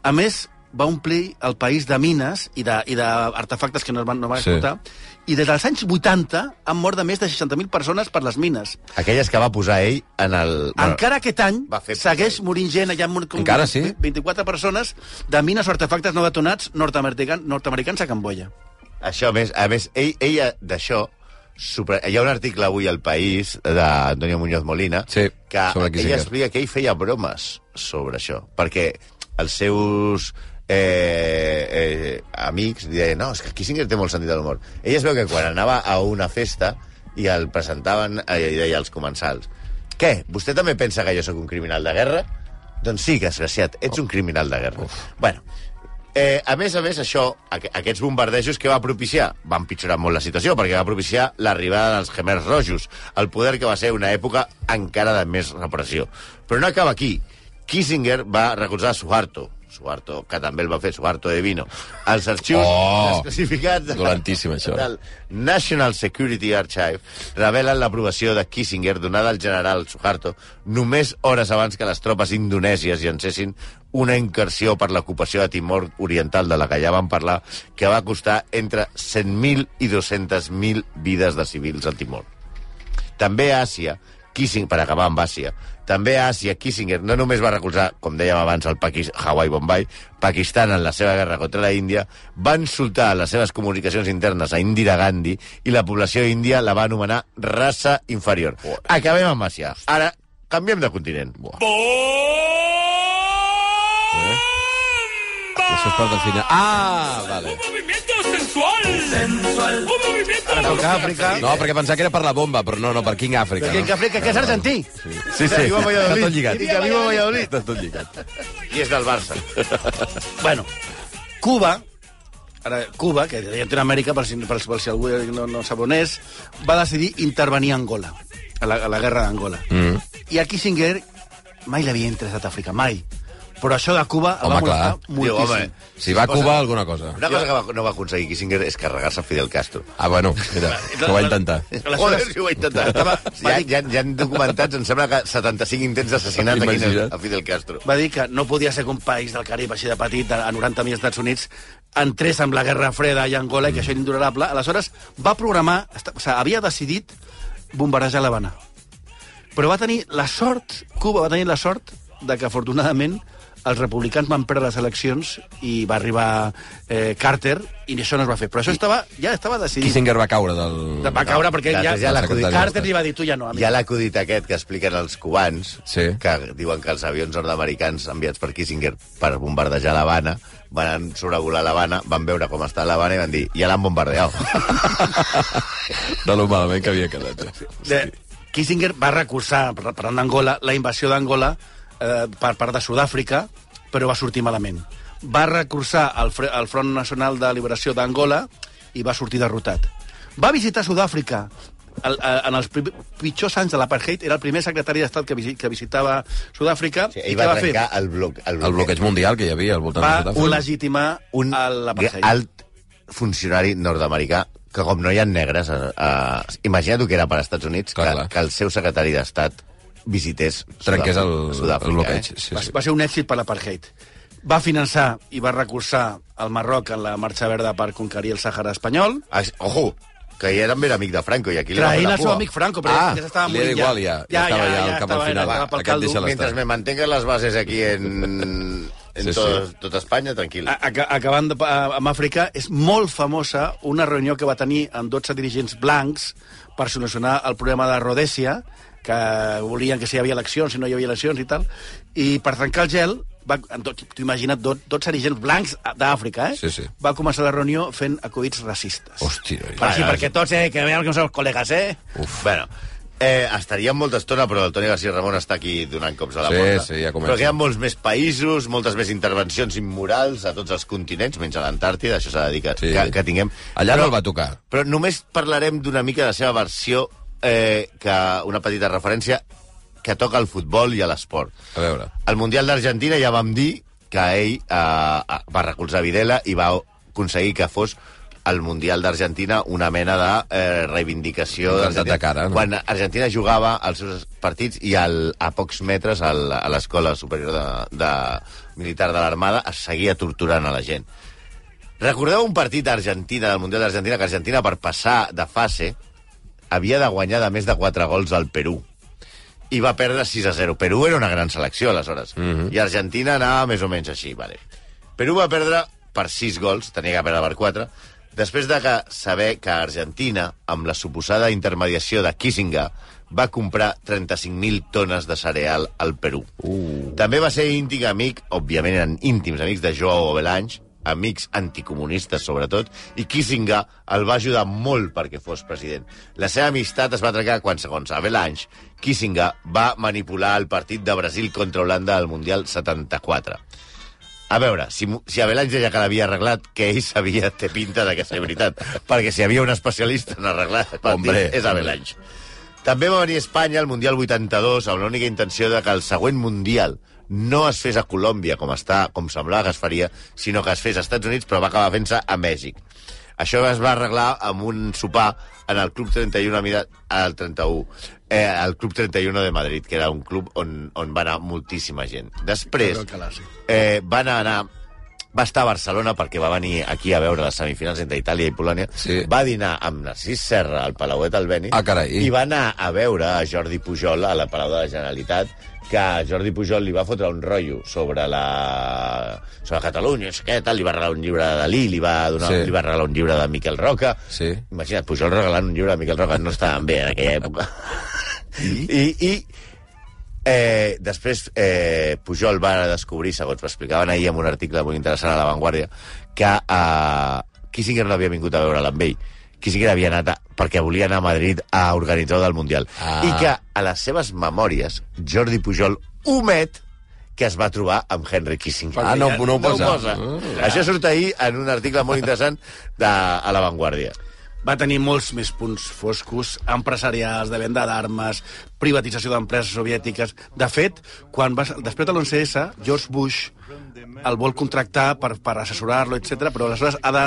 Speaker 4: A més, va omplir el país de mines i de- i d'artefactes que no es van, no van
Speaker 2: Sí.
Speaker 4: explotar. I des dels anys 80 han mort de més de 60.000 persones per les mines.
Speaker 3: Aquelles que va posar ell en el...
Speaker 4: Encara aquest any
Speaker 3: va fer-
Speaker 4: segueix morint gent, allà han mort com
Speaker 2: Encara sí?
Speaker 4: 24 persones de mines o artefactes no detonats nord-americans nord a Camboya.
Speaker 3: Això, a més, a més ell, ella d'això... Super... Hi ha un article avui al País d'Antonio Muñoz Molina
Speaker 2: Sí,
Speaker 3: que
Speaker 2: sobre
Speaker 3: ella
Speaker 2: Kissinger.
Speaker 3: explica que ell feia bromes sobre això, perquè els seus eh, eh, amics deien no, és que Kissinger té molt sentit de l'humor. Ella es veu que quan anava a una festa i el presentaven eh, i deia als comensals què, vostè també pensa que jo sóc un criminal de guerra? Doncs sí, desgraciat, ets un criminal de guerra. Bueno, Eh, a més a més, això, aqu aquests bombardejos que va propiciar? Va empitjorar molt la situació, perquè va propiciar l'arribada dels gemers rojos, el poder que va ser una època encara de més repressió. Però no acaba aquí. Kissinger va recolzar Suharto, Suharto, que també el va fer Suharto de Vino, als arxius
Speaker 2: Oh!
Speaker 3: desclassificats de-
Speaker 2: Dolentíssim, això.
Speaker 3: del National Security Archive revelen l'aprovació de Kissinger donada al general Suharto només hores abans que les tropes indonèsies llancessin una incursió per l'ocupació de Timor Oriental de la que ja vam parlar, que va costar entre 100.000 i 200.000 vides de civils al Timor. També a Àsia, Kissinger, per acabar amb Àsia, també a Àsia, Kissinger no només va recolzar, com dèiem abans, el Paquis, Hawaii Bombay, Pakistan en la seva guerra contra la Índia, va insultar a les seves comunicacions internes a Indira Gandhi i la població índia la va anomenar raça inferior. Acabem amb Àsia. Ara, canviem de continent.
Speaker 2: Això és part del final. Ah, vale.
Speaker 5: movimiento sensual. Un movimiento
Speaker 4: Ara toca Àfrica.
Speaker 2: No, perquè pensava que era per la bomba, però no, no, per King Africa.
Speaker 4: Perquè
Speaker 2: no?
Speaker 4: Àfrica, que és argentí.
Speaker 2: Sí, sí.
Speaker 3: Viva Valladolid.
Speaker 2: Està tot lligat.
Speaker 3: Viva Valladolid.
Speaker 2: Està tot lligat.
Speaker 3: I és del Barça.
Speaker 4: Bueno, Cuba, ara, Cuba, que deia Amèrica, per si, per, per si algú no, no sap on és, va decidir intervenir a Angola, a la, a la guerra d'Angola.
Speaker 2: Mm.
Speaker 4: I a Kissinger mai l'havia interessat a Àfrica, mai. Però això de Cuba el
Speaker 2: Home,
Speaker 4: va molestar
Speaker 2: clar.
Speaker 4: moltíssim.
Speaker 3: Diu, home,
Speaker 2: Si va a Cuba, alguna cosa.
Speaker 3: Una cosa que va, no va aconseguir Kissinger és carregar-se Fidel Castro.
Speaker 2: Ah, bueno, mira, que ho va intentar.
Speaker 3: <laughs> Joder, si ho va intentar. Estava, ja, ja, ja han documentats, em sembla que 75 intents d'assassinat aquí en el-
Speaker 2: Imagina't.
Speaker 3: a Fidel Castro.
Speaker 4: va dir que no podia ser que un país del Carib així de petit, a 90 mil Estats Units, entrés amb la Guerra Freda i Angola i que això era indurable. Aleshores, va programar, esta- o sigui, havia decidit bombardejar l'Havana. Però va tenir la sort, Cuba va tenir la sort de que, afortunadament, els republicans van perdre les eleccions i va arribar eh, Carter i això no es va fer. Però això estava, ja estava decidit.
Speaker 2: Kissinger va caure del...
Speaker 4: Va caure perquè
Speaker 3: Carter
Speaker 4: ja,
Speaker 3: ja l'ha
Speaker 2: acudit.
Speaker 4: Carter li va dir, tu ja no, amic.
Speaker 3: Hi ha l'acudit aquest que expliquen els cubans,
Speaker 2: Sí.
Speaker 3: que diuen que els avions nord-americans enviats per Kissinger per bombardejar l'Havana van sobrevolar l'Havana, van veure com està l'Havana i van dir, ja l'han
Speaker 2: <laughs>
Speaker 3: bombardeat.
Speaker 2: De lo malament que havia quedat. eh. ja.
Speaker 4: de, Kissinger va recolzar, par- parlant d'Angola, la invasió d'Angola eh, per part de Sud-àfrica, però va sortir malament. Va recolzar el, fre- el Front Nacional de Liberació d'Angola i va sortir derrotat. Va visitar Sud-àfrica el, eh, en els pri- pitjors anys de l'apartheid, era el primer secretari d'Estat que, visi, que visitava Sud-àfrica.
Speaker 3: Sí,
Speaker 4: i
Speaker 3: ell
Speaker 4: què
Speaker 3: va
Speaker 4: fer?
Speaker 3: trencar el, bloc, el,
Speaker 2: El bloqueig mundial que hi havia al voltant de
Speaker 4: Va
Speaker 2: Sud-àfrica.
Speaker 4: legitimar
Speaker 3: Un
Speaker 4: l'apartheid.
Speaker 3: alt funcionari nord-americà que com no hi ha negres... Eh, eh, Imagina't que era per als Estats Units
Speaker 2: Clar,
Speaker 3: que,
Speaker 2: clar.
Speaker 3: que el seu secretari d'Estat visités
Speaker 2: Trenqués el,
Speaker 3: Sud-àfrica,
Speaker 2: el bloqueig.
Speaker 3: Eh?
Speaker 2: Sí,
Speaker 4: va,
Speaker 2: sí.
Speaker 4: va ser un èxit per l'apartheid. Va finançar i va recolzar el Marroc en la marxa verda per conquerir el Sàhara espanyol.
Speaker 3: Ah, Ojo, que ja també era amic de Franco i aquí li va
Speaker 4: Clar, ell
Speaker 3: fer
Speaker 4: era
Speaker 3: la
Speaker 4: el seu
Speaker 3: pua.
Speaker 4: amic Franco, però
Speaker 2: Ah,
Speaker 4: ja s'estava
Speaker 2: li era
Speaker 4: morint.
Speaker 2: igual, ja. Ja estava ja al cap al
Speaker 4: estava,
Speaker 2: final.
Speaker 4: era cap al
Speaker 2: Aquest
Speaker 4: caldo.
Speaker 2: deixa-la estar.
Speaker 3: Mientras me mantengan las bases aquí
Speaker 2: <laughs>
Speaker 3: en, en
Speaker 2: Sí, sí.
Speaker 3: todo- tota Espanya, tranquil.
Speaker 4: A- aca- acabant de, a- amb Àfrica, és molt famosa una reunió que va tenir amb 12 dirigents blancs per solucionar el problema de Rodèsia, que volien que si hi havia eleccions, si no hi havia eleccions i tal, i per trencar el gel, va, amb tot- t'ho imagina't, do- 12 dirigents blancs d'Àfrica, eh?
Speaker 2: Sí, sí.
Speaker 4: Va començar la reunió fent acudits racistes.
Speaker 2: Hòstia,
Speaker 4: Per així,
Speaker 2: ja,
Speaker 4: perquè tots, eh, que veiem que no som col·legues, eh?
Speaker 3: Uf. Bueno, eh, estaríem molta estona, però el Toni García Ramon està aquí donant cops a la
Speaker 2: Sí,
Speaker 3: porta.
Speaker 2: sí, ja comença.
Speaker 3: Però que hi ha molts més països, moltes més intervencions immorals a tots els continents, menys a l'Antàrtida, això s'ha de dir que,
Speaker 2: Sí.
Speaker 3: que, que tinguem.
Speaker 2: Allà no
Speaker 3: però,
Speaker 2: el va tocar.
Speaker 3: Però només parlarem d'una mica de la seva versió, eh, que una petita referència que toca al futbol i a l'esport.
Speaker 2: A veure.
Speaker 3: Al Mundial d'Argentina ja vam dir que ell eh, eh, va recolzar Videla i va aconseguir que fos el Mundial d'Argentina una mena de eh, reivindicació
Speaker 2: Un rentat
Speaker 3: d'Argentina.
Speaker 2: de cara, no?
Speaker 3: Quan Argentina jugava als seus partits i al, a pocs metres al, a l'escola superior de, de, militar de l'armada es seguia torturant a la gent. Recordeu un partit d'Argentina, del Mundial d'Argentina, que Argentina, per passar de fase, havia de guanyar de més de 4 gols al Perú. I va perdre 6 a 0. Perú era una gran selecció, aleshores.
Speaker 2: Mhm.
Speaker 3: I Argentina anava més o menys així, vale. Perú va perdre per 6 gols, tenia que perdre per 4, després de que saber que Argentina, amb la suposada intermediació de Kissinger, va comprar 35.000 tones de cereal al Perú. Uh. També va ser íntim amic, òbviament eren íntims amics de Joao Belange, amics anticomunistes, sobretot, i Kissinger el va ajudar molt perquè fos president. La seva amistat es va trencar quan, segons Avelange, Kissinger va manipular el partit de Brasil contra Holanda al Mundial 74. A veure, si, mu- si Avelange ja que l'havia arreglat, que ell sabia, té pinta de que és veritat, perquè si hi havia un especialista en arreglar el partit,
Speaker 2: Hombre,
Speaker 3: és Avelange. També va venir a Espanya al Mundial 82 amb l'única intenció de que el següent Mundial no es fes a Colòmbia, com, està, com semblava que es faria, sinó que es fes a Estats Units, però va acabar fent-se a Mèxic. Això es va arreglar amb un sopar en el Club 31 a mida- al 31, eh, al Club 31 de Madrid, que era un club on, on va anar moltíssima gent. Després eh, van anar va estar a Barcelona perquè va venir aquí a veure les semifinals entre Itàlia i Polònia.
Speaker 2: Sí.
Speaker 3: Va dinar amb Narcís Serra al Palauet al Beni.
Speaker 2: Ah, carai.
Speaker 3: I va anar a veure a Jordi Pujol a la Palau de la Generalitat que a Jordi Pujol li va fotre un rotllo sobre la... sobre Catalunya, és que tal, li va regalar un llibre de Dalí, li va, donar,
Speaker 2: Sí.
Speaker 3: sí. li va regalar un llibre de Miquel Roca.
Speaker 2: Sí.
Speaker 3: Imagina't, Pujol regalant un llibre de Miquel Roca no estaven bé en aquella època. I, i Eh, després, eh, Pujol va descobrir, segons m'explicaven ahir en un article molt interessant a La Vanguardia, que eh, Kissinger no havia vingut a veure'l amb ell. Kissinger havia anat a, perquè volia anar a Madrid a organitzar el del Mundial.
Speaker 2: Ah.
Speaker 3: I que a les seves memòries, Jordi Pujol omet que es va trobar amb Henry Kissinger.
Speaker 2: Ah, no, no ho posa.
Speaker 3: Ah. Això surt ahir en un article molt interessant de, a La Vanguardia.
Speaker 4: va tenir molts més punts foscos, empresarials, de venda d'armes, privatització d'empreses soviètiques... De fet, quan va, després de l'11S, George Bush el vol contractar per, per assessorar-lo, etc. però aleshores ha de,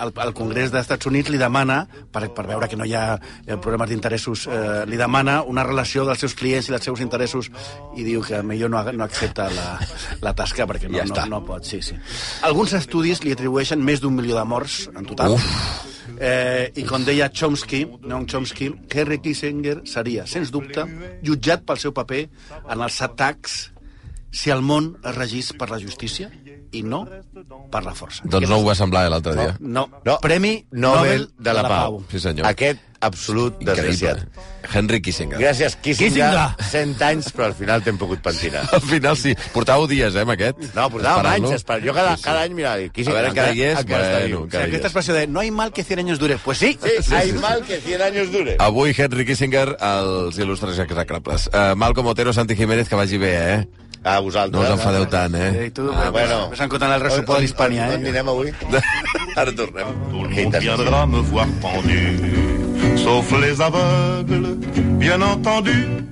Speaker 4: el, el Congrés dels Estats Units li demana, per, per veure que no hi ha eh, problemes d'interessos, eh, li demana una relació dels seus clients i dels seus interessos i diu que millor no, no accepta la, la tasca perquè no,
Speaker 2: Ja
Speaker 4: no,
Speaker 2: està.
Speaker 4: no pot. Sí, sí. Alguns estudis li atribueixen més d'un milió de morts en total. Uf. Eh, I com deia Chomsky, Noam Chomsky, Henry Kissinger seria, sens dubte, jutjat pel seu paper en els atacs si el món es regís per la justícia i no per la força.
Speaker 2: Doncs no ho va semblar eh, l'altre dia.
Speaker 4: No,
Speaker 3: No,
Speaker 4: no. Premi
Speaker 3: Nobel de la, Pau.
Speaker 2: Sí, senyor. eh?
Speaker 3: Aquest absolut desgraciat.
Speaker 2: Henry Kissinger.
Speaker 3: Gràcies, Kissinger.
Speaker 4: Kissinger.
Speaker 3: 100 anys, però al final t'hem pogut pentinar.
Speaker 2: <laughs> Al final sí. Portàveu dies, eh, amb aquest?
Speaker 3: No, portàvem
Speaker 2: Esperant-lo.
Speaker 3: anys. Esper... Jo cada, cada any, mira,
Speaker 2: A
Speaker 3: Kissinger
Speaker 2: veure, encara hi és,
Speaker 3: està
Speaker 2: bueno,
Speaker 3: viu.
Speaker 2: encara hi
Speaker 4: Aquesta expressió de no hay mal que 100 años dure. Pues sí.
Speaker 3: Sí, sí, hay mal que 100 anys eh? dure.
Speaker 2: Avui Henry Kissinger als il·lustres execrables. Uh, Malcom Otero, Santi Jiménez, que vagi bé, eh?
Speaker 3: A vosaltres.
Speaker 2: No us enfadeu tant,
Speaker 4: Eh, I
Speaker 2: eh?
Speaker 4: tu,
Speaker 3: Ah,
Speaker 4: ah,
Speaker 3: bueno.
Speaker 4: bueno. Ves en compte en el ressopó de l'Hispània,
Speaker 3: On
Speaker 4: eh?
Speaker 3: anirem avui?
Speaker 2: Ara tornem.
Speaker 1: Tout le
Speaker 3: Et
Speaker 1: monde
Speaker 3: t'as-
Speaker 1: viendra me voir pendu, sauf les aveugles, bien entendu.